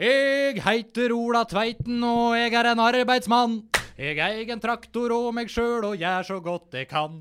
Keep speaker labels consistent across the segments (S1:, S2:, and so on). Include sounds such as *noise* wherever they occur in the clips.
S1: Jeg heiter Ola Tveiten, og jeg er en arbeidsmann. Jeg eier en traktor og meg sjøl og gjør så godt jeg kan.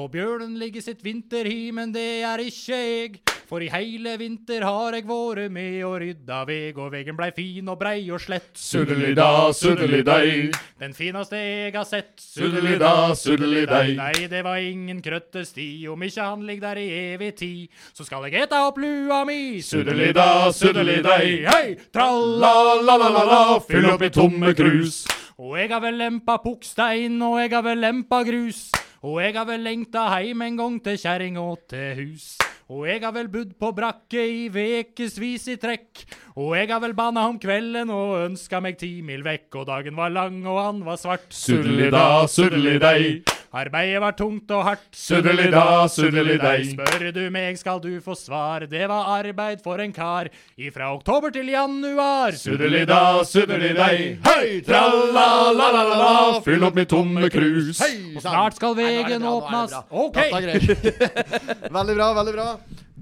S1: Og bjørnen ligger sitt vinterhi, men det er ikke jeg. For i heile vinter har jeg vært med og rydda veg, og vegen blei fin og brei og slett.
S2: Suddelida, suddelidei.
S1: Den fineste jeg har sett.
S2: Suddelida, suddelidei.
S1: Nei, det var ingen krøttesti, om ikke han ligger der i evig tid, så skal jeg eta opp lua mi.
S2: Suddelida, suddelidei.
S1: Hei, tralla.
S2: La-la-la-la-la, fyll opp i tomme krus.
S1: Og jeg har vel lempa pukkstein, og jeg har vel lempa grus. Og jeg har vel lengta heim en gang til kjerring og til hus. Og jeg har vel budd på brakke i vekevis i trekk. Og jeg har vel banna om kvelden og ønska meg ti mil vekk. Og dagen var lang, og han var svart.
S2: Suddelida, suddelidei.
S1: Arbeidet var tungt og hardt.
S2: Suddelida, suddelidei.
S1: Spør du meg, skal du få svar. Det var arbeid for en kar. Ifra oktober til januar.
S2: Suddelida, suddelidei. Hei, tralla-la-la-la-la, fyll opp i tomme krus.
S1: Og snart skal
S3: Nei,
S1: vegen
S3: nå er
S1: åpnes.
S3: det bra, nå
S1: OK!
S3: er det bra. Dette er greit. *laughs* veldig bra, veldig bra.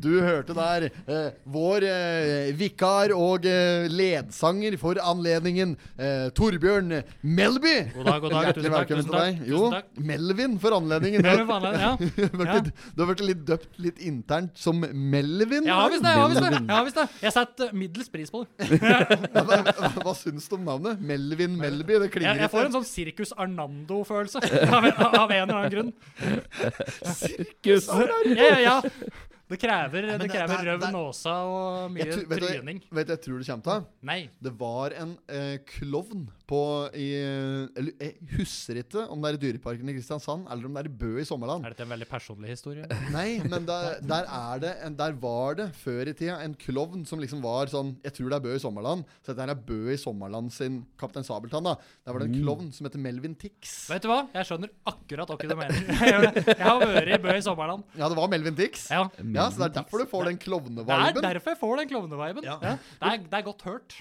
S3: Du hørte der eh, vår eh, vikar og eh, ledsanger for anledningen, eh, Torbjørn Melby.
S1: God dag, god dag.
S3: Hjertelig
S1: Tusen takk, tusen
S3: velkommen til deg.
S1: takk,
S3: Jo,
S1: tusen takk.
S3: Melvin for anledningen.
S1: Det er jo vanlig, ja.
S3: Du har vært litt- du har vært litt døpt litt internt som Melvin.
S1: Jeg har visst det. Jeg har visst det. Jeg, har visst det. jeg setter middels pris på det.
S3: Hva, hva, hva syns du om navnet? Melvin Melby, det
S1: Jeg,
S3: klinger
S1: jeg får en sånn Sirkus Arnando-følelse av, en- av en eller annen grunn.
S2: Gus.
S1: Ja, ja, ja. Det krever, det
S3: men det-
S1: krever
S3: det- det-
S1: røvn, åsa og
S3: Jeg
S1: mye
S3: tror- vet, du,
S1: tryning.
S3: vet du, jeg tror det kommer til.
S1: Nei.
S3: Det var en eh, klovn på i, eh, eller, Jeg husker ikke om det er i Dyreparken i Kristiansand eller om det er i Bø i Sommerland.
S1: Er dette en veldig personlig historie? *laughs*
S3: Nei, men der, der, er det en, der var det før i tida en klovn som liksom var sånn Jeg tror det er Bø i Sommerland. Så dette her er Bø i Sommerland sin Kaptein Sabeltann. da Der var det en klovn som heter Melvin Tix.
S1: Vet du hva? Jeg skjønner akkurat hva du mener. *laughs* Jeg gjør det. Jeg har vært i Bø i sommerland.
S3: Ja, det var Melvin Tix.
S1: Ja.
S3: Ja, så det er derfor du får den
S1: Det er
S3: klovnevalben.
S1: derfor jeg får den klovneviben. Ja. Det, er- det er godt hørt.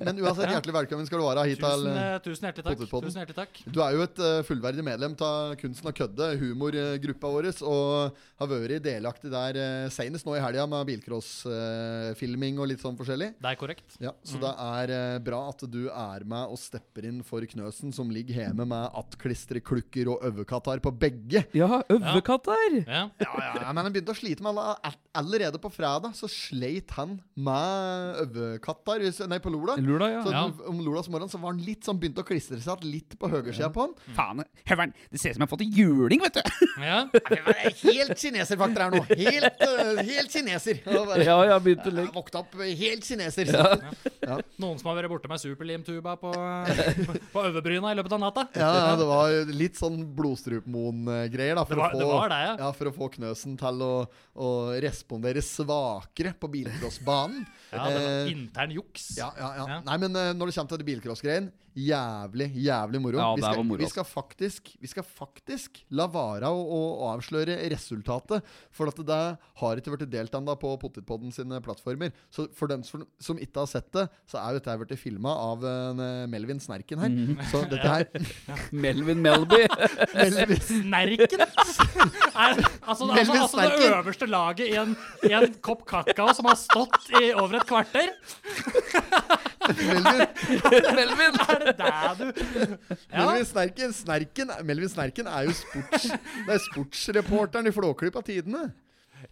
S3: Men uansett, hjertelig velkommen skal du være hit til
S1: Tusen, eh, tusen hjertelig takk.
S3: Potterpodden.
S1: Tusen hjertelig takk.
S3: Du er jo et eh, fullverdig medlem av Kunsten å kødde, humorgruppa vår, og har vært delaktig der eh, senest nå i helga med bilcrossfilming og litt sånn forskjellig.
S1: Det er korrekt.
S3: Ja, Så det er eh, bra at du er med og stepper inn for Knøsen, som ligger hjemme med attklistreklukker og øvekatar på begge.
S2: Ja, øvekatt her.
S1: Ja.
S3: Ja, ja, ja, Men han begynte å slite med alle- all- Allerede på fredag så sleit han med øvekatar, hvis- nei, på Lola.
S2: Lula,
S3: Så
S1: Ja.
S3: om Lolas morgen så var han litt sånn begynte å klistre seg igjen litt på høyresida på han.
S4: Faen, høveren, det ser ut som jeg har fått en juling, vet du.
S1: ja.
S3: Helt kineserfaktor her nå. Helt, eh, helt kineser. Og bare-
S2: Ja, jeg begynte
S3: Jeg Våkna opp helt kineser.
S1: Noen som har vært borte med superlimtuba
S3: *laughs*
S1: på, på overbryna i løpet av natta?
S3: Ja, ja, det var litt sånn blodstrupmoen-greier, da. For,
S1: Det var-
S3: å få,
S1: det var det, ja.
S3: for å få Knøsen til å, å respondere svakere på bilcrossbanen.
S1: Ja, det var
S3: Eh,
S1: intern juks.
S3: Ja, ja, ja.
S1: Ja.
S3: Nei, men eh, når det kommer til det bilcrossgreien, jævlig, jævlig moro.
S4: Ja,
S3: vi,
S4: det
S3: skal,
S4: var moro,
S3: vi, skal faktisk, vi skal faktisk la vara å, å avsløre resultatet. For at det der har ikke vært delt ennå på Pottitpodden sine plattformer. Så for den som, som ikke har sett det, så er jo dette her blitt filma av en, eh, Melvin Snerken her. Så dette her
S4: *laughs* Melvin Melby.
S3: Melvin, *laughs*
S1: Snerken! Er, altså, altså,
S3: Melvin
S1: altså det
S3: Snerken.
S1: øverste laget i en, i en kopp kakao som har stått i over et kvarter?
S3: Melvin,
S4: *laughs* Melvin!
S1: *laughs* Er det der du Ja,
S3: Melvin, Snerken, Snerken, Melvin Snerken er jo sports, det er sportsreporteren i Flåklypa Tidene.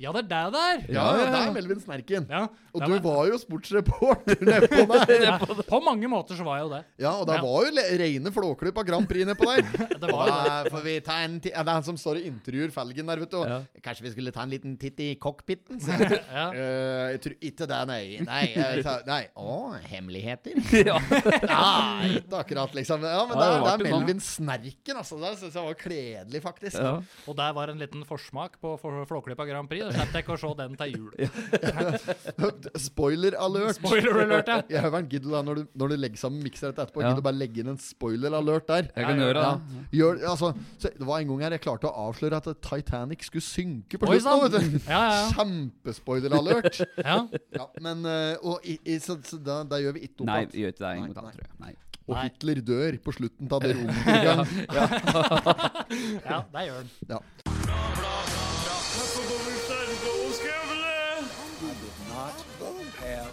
S1: ja det er der det er.
S3: Ja, ja, det er Melvin Snerken.
S1: Ja.
S3: Og
S1: det
S3: du
S1: var-
S3: var jo sportsreporter nedpå der.
S1: ja, på mange måter så var jeg jo det.
S3: Ja, og det
S1: Ja.
S3: var jo le- reine flåklypa Grand Prix nedpå der.
S1: Det var jo det.
S3: Da får vi ta en ti ja, Det er han som står og intervjuer felgen der, vet du. og Kanskje vi skulle ta en liten titt i cockpiten? sier han.
S1: Ja.
S3: «Eh, jeg tror ikke det, nei. Nei, jeg sa- nei. Å, hemmeligheter?
S4: Ja.
S3: Nei, ikke akkurat, liksom. Ja,
S4: Ja, det
S3: men det, er- det
S4: var
S3: er
S4: artig, da.
S3: Melvin Snerken, altså. Det syns jeg var kledelig, faktisk.
S4: Ja.
S1: Og der var en liten forsmak på for- Flåklypa Grand Prix. Da slapp jeg ikke å se den til jul.
S3: *laughs* Spoiler alert.
S1: Spoiler alert,
S3: *laughs*
S1: ja.
S3: Jeg hører gidder da, når du, når du legger sammen mikser dette etterpå,
S4: Ja.
S3: gidder du bare legge inn en spoiler alert der.
S4: Jeg kan gjøre det.
S3: Ja. Gjør, altså, så det var en gang her jeg klarte å avsløre at Titanic skulle synke på
S1: Oi
S3: slutten. nå,
S1: sann!
S3: vet du.
S1: Ja, ja, ja.
S3: Kjempespoiler-alert.
S1: ja.
S3: *laughs* Ja, men eh, og i, i, så, så da, da gjør vi ikke
S4: Nei,
S3: opp at
S4: vi gjør ikke det en
S3: Nei,
S4: gang til,
S3: nei.
S4: tror jeg. Nei.
S3: Og
S1: Nei.
S3: Hitler dør på slutten av det
S1: *laughs*
S3: rommet.
S1: ja der gjør den.
S3: Ja.
S5: Forbudsdøren på Skavle!
S6: not have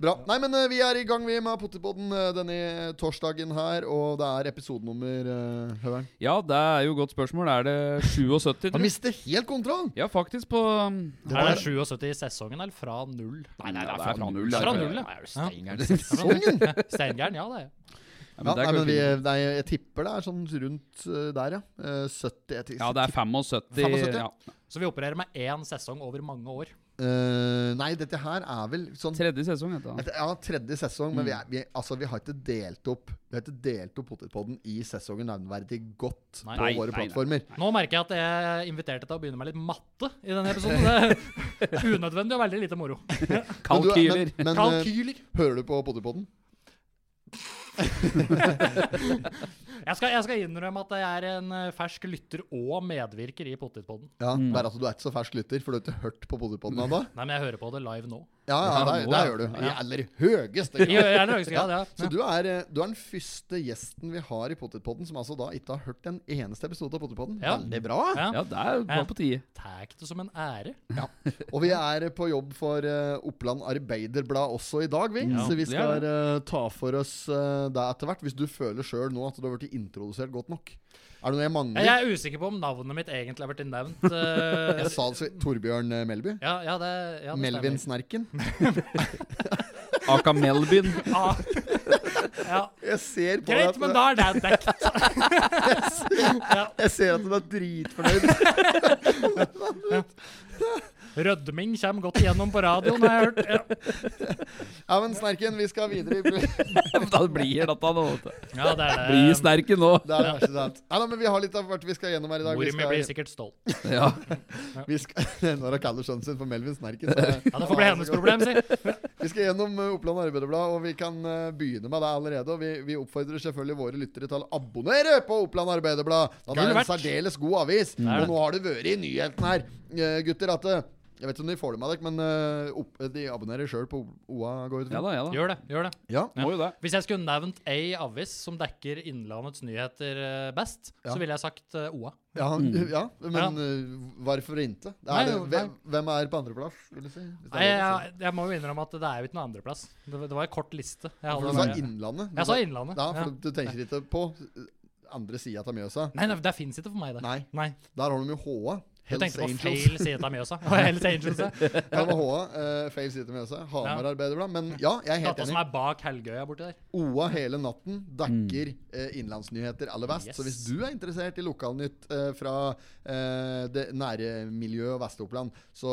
S3: Bra. Nei, men eh, vi er i gang vi med Potipodden eh, denne torsdagen her, og det er episode nummer eh, Høveren.
S4: Ja, det er jo et godt spørsmål. Er det 77,
S3: Han
S4: tror du?
S3: mister helt kontroll!
S4: Ja, faktisk på um,
S3: Det
S1: Er
S3: var
S1: det 77 i sesongen, eller fra null?
S4: Nei, nei, det er fra null. det er
S1: Fra null, ja. ja.
S3: sesongen!
S1: Steingæren, *laughs* ja det. er jeg.
S4: Ja,
S3: Ja,
S4: men det
S3: nei,
S4: er
S3: men vi,
S4: kanskje-
S3: nei, jeg tipper det er sånn rundt eh, der, ja. Eh, 70 jeg
S4: Ja, det er 75.
S3: 75,
S4: Ja.
S1: Så vi opererer med én sesong over mange år.
S3: Eh, Nei, dette her er vel sånn
S4: Tredje sesong heter det.
S3: Et- Ja, tredje sesong, men vi,
S1: Mm.
S3: er, vi, altså, vi har ikke delt opp Vi har ikke delt opp Potetpodden i sesongen nevneverdig godt
S1: Nei.
S3: på
S1: Nei,
S4: nei,
S3: våre
S4: nei.
S3: plattformer.
S1: Nå merker jeg at jeg inviterte til å begynne med litt matte i denne episoden.
S3: *laughs*
S1: Det er unødvendig og veldig lite moro.
S3: Men du er-
S4: Kalkyler.
S3: Men, men eh,
S1: Kalkyler.
S3: hører du på Potetpodden?
S1: Jeg skal, jeg skal innrømme at jeg er en eh, fersk lytter og medvirker i Pottitpodden.
S3: Ja, bare at du er ikke så fersk lytter, for du har ikke hørt på Potetpodden
S1: *laughs*
S3: ennå?
S1: Nei, men jeg hører på det live nå.
S3: Ja, ja,
S4: Ja,
S3: der,
S4: nå,
S3: der
S4: ja.
S3: gjør du. I
S1: Ja.
S3: aller
S1: *laughs*
S3: høyeste
S1: I aller høyeste grad, ja.
S3: Så du er, eh, du er den første gjesten vi har i Potetpodden som altså da ikke har hørt en eneste episode av Potetpodden.
S1: Ja.
S3: Veldig bra.
S1: Ja.
S4: Ja, det er bare på tide.
S1: Tar det som en ære.
S3: Og vi er på jobb for eh, Oppland Arbeiderblad også i dag, vi.
S1: Ja,
S3: så vi
S4: det er
S3: skal eh, ta for oss eh, det etter hvert, hvis du føler sjøl nå at du har blitt introdusert godt nok. Er det noe jeg mangler?
S1: Jeg er usikker på om navnet mitt egentlig har blirt nevnt. eh,
S3: *laughs* Jeg sa det så- Torbjørn eh, Melby.
S1: ja, ja, det, ja, det
S3: Melvin Snerken.
S4: Aka Melbyen.
S1: stemmer. Ah. Ja.
S3: Jeg ser på
S1: Greit,
S3: deg
S1: men
S3: at,
S1: da er det dekt.
S3: du- jeg ser at du er dritfornøyd.
S1: *laughs* Rødming kommer godt igjennom på radioen, har jeg hørt. Ja.
S3: ja, men Snerken, vi skal videre. i-
S4: *laughs* Da blir dette nå. vet du.
S1: Ja, det er
S4: Blir
S1: det.
S4: sterke nå.
S3: Det er det verste sant. Nei, nei, men vi har litt av hvert vi skal gjennom her i dag.
S1: Mor
S3: Vi
S1: mi blir
S3: skal,
S1: sikkert stolt.
S4: Ja.
S3: vi skal, *laughs* når hun kaller sønnen sin for Melvin Snerken. så-
S1: Ja, Det får bli hennes problem, si.
S3: Vi skal gjennom eh, Oppland Arbeiderblad, og vi kan eh, begynne med det allerede. Og vi, vi oppfordrer selvfølgelig våre lyttere til å abonnere på Oppland Arbeiderblad. Da det
S1: Gull
S3: er en
S1: verdt.
S3: særdeles god avis.
S1: er
S3: Og
S1: det.
S3: nå har det vært i nyheten her, eh, gutter, at eh, Jeg vet ikke om de får det med dere, men eh, opp, de abonnerer sjøl på OA, går jeg ut
S4: ja
S3: fra.
S4: da, ja da.
S1: Gjør det. gjør det.
S3: Ja.
S4: Må jo det.
S1: Hvis jeg skulle nevnt ei avis som dekker Innlandets nyheter eh, best,
S3: Ja.
S1: så ville jeg sagt eh, OA.
S3: Ja, ja, men eh, hvorfor ikke? Det
S1: Nei,
S3: Er,
S1: jo,
S3: hvem, hvem er på andreplass, vil du si? Hvis det er
S1: Nei,
S3: lov å si.
S1: jeg, jeg må jo innrømme at det er jo ikke noe andreplass. Det, var- det var en kort liste. Jeg,
S3: For
S1: hadde
S3: du sa
S1: bare-
S3: Innlandet. Du
S1: jeg
S3: sa-
S1: sa Innlandet.
S3: Ja,
S1: ja.
S3: for du tenker ikke på eh, andre sida av Mjøsa.
S1: Nei, nei, det fins ikke for meg, det.
S3: Nei,
S1: Nei.
S3: der har de jo HA.
S1: Jeg
S3: Hells
S1: tenkte på
S3: Angels.
S1: feil side av Mjøsa. Og Hells Angels, ja.
S3: *laughs* Ja, med HA. eh, feil side med Mjøsa. Hamar Arbeiderblad. Men ja, jeg er helt
S1: Data som
S3: enig.
S1: er bak Helgøya borti der.
S3: OA hele natten dekker eh, innenlandsnyheter aller best. Så
S1: Yes.
S3: hvis du er interessert i lokalnytt eh, fra eh, det nære miljøet og Vest-Oppland, så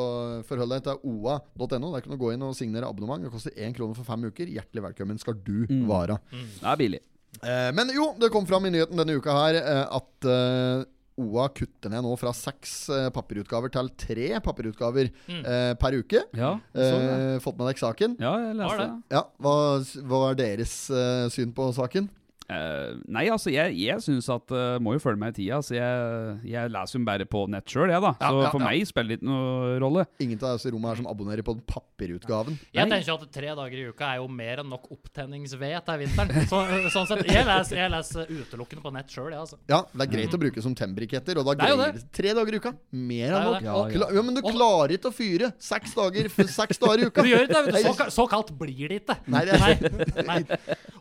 S3: forhold deg til oa.no. Der kan du gå inn og signere abonnement. Det koster én krone for fem uker. Hjertelig velkommen skal du være.
S4: *laughs* Det er billig.
S3: Eh, men jo, det kom fram i nyheten denne uka her eh, at eh, OA kutter ned nå fra seks eh, papirutgaver til tre papirutgaver
S1: Mm.
S3: eh, per uke.
S4: Ja, sånn, ja.
S3: Eh, fått med deg saken?
S4: ja jeg
S1: Var
S4: leste
S1: det?
S4: det.
S3: Ja, hva, hva er deres eh, syn på saken?
S4: Eh, nei, altså, jeg, jeg syns at eh, Må jo følge meg i tida, så jeg, jeg leser jo bare på nett sjøl, jeg, da.
S3: Ja,
S4: så
S3: ja,
S4: for
S3: ja.
S4: meg spiller det ikke noe rolle.
S3: Ingen av oss i rommet her som abonnerer på den papirutgaven.
S1: Jeg
S4: Nei.
S1: tenker at tre dager i uka er jo mer enn nok opptenningsved til vinteren. Så, sånn sett, jeg leser, jeg leser utelukkende på nett sjøl, jeg, altså.
S3: Ja, det er
S4: Mm.
S3: greit å bruke som tembriketter, og da
S1: Det er jo
S3: greier tre dager i uka. Mer
S1: Det er
S3: enn
S1: jo
S3: nok.
S1: det.
S3: Ja,
S1: Og-
S3: Kla- ja, men du klarer ikke å fyre seks dager, f- seks dager i uka.
S1: Du gjør ikke *laughs* det, vet du. Så, ka- så kaldt blir det ikke.
S3: Nei, det er-
S1: *laughs* Nei.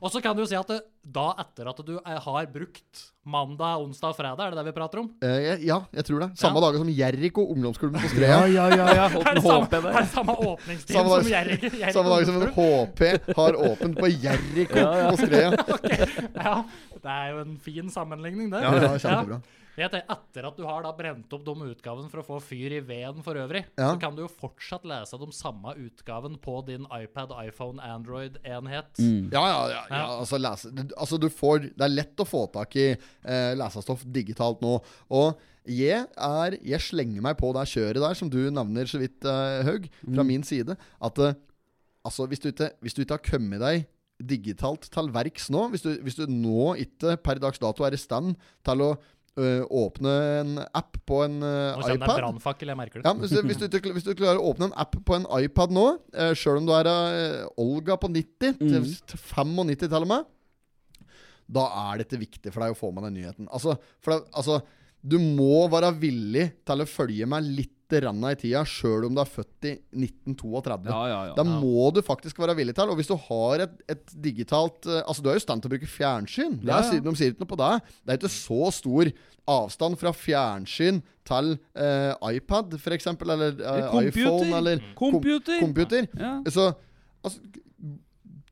S1: Og så kan du jo si at det, da etter at du eh, har brukt mandag, onsdag og fredag, er det det vi prater om?
S3: Eh, jeg- ja, jeg tror det. Samme dager som Jeriko, ungdomsklubben på Skrea.
S4: ja, ja. *laughs* ja.
S1: Er det samme,
S4: håper jeg
S1: er
S4: det.
S1: det samme åpningstid
S3: Samme dag-
S1: som Jerrig? Jerrig-
S3: Samme dag som en HP har åpent på Jeriko på Skrea.
S1: Ja, det er jo en fin sammenligning, det.
S3: Ja, ja, kjempebra.
S1: Jeg tenker, etter at du har da brent opp de utgavene for å få fyr i veden for øvrig,
S3: Ja.
S1: så kan du jo fortsatt lese de samme utgaven på din iPad, iPhone, Android-enhet.
S3: Ja, ja, ja, ja. Altså, lese, altså du får Det er lett å få tak i eh, lesestoff digitalt nå. Og jeg er Jeg slenger meg på det kjøret der som du nevner så vidt, eh, Haug, fra min side. At eh, altså, hvis du ikke, hvis du ikke har kommet deg digitalt til verks nå, hvis du, hvis du nå ikke per dags dato er i stand til å øh, åpne en app på en øh,
S1: Nå kjenner jeg
S3: iPad
S1: brannfakkel, jeg merker det.
S3: ja, men så hvis, du, ikke- hvis du klarer å åpne en app på en iPad nå, eh, sjøl om du er eh, Olga på 90, til, til 95 til og med, da er dette viktig for deg å få med den nyheten. Altså, for det, altså du må være villig til å følge med litt grann i tida, sjøl om du er født i 1932.
S4: Ja, ja, ja.
S3: Da må du faktisk være villig til. Og hvis du har et, et digitalt eh, Altså, du er jo i stand til å bruke fjernsyn. Det
S4: Ja, ja.
S3: er, siden De sier ikke noe på det. Det er ikke så stor avstand fra fjernsyn til eh, iPad, for eksempel Eller eh, iPhone, eller kom-
S4: Mm. Computer!
S3: computer.
S4: Ja.
S3: Så altså,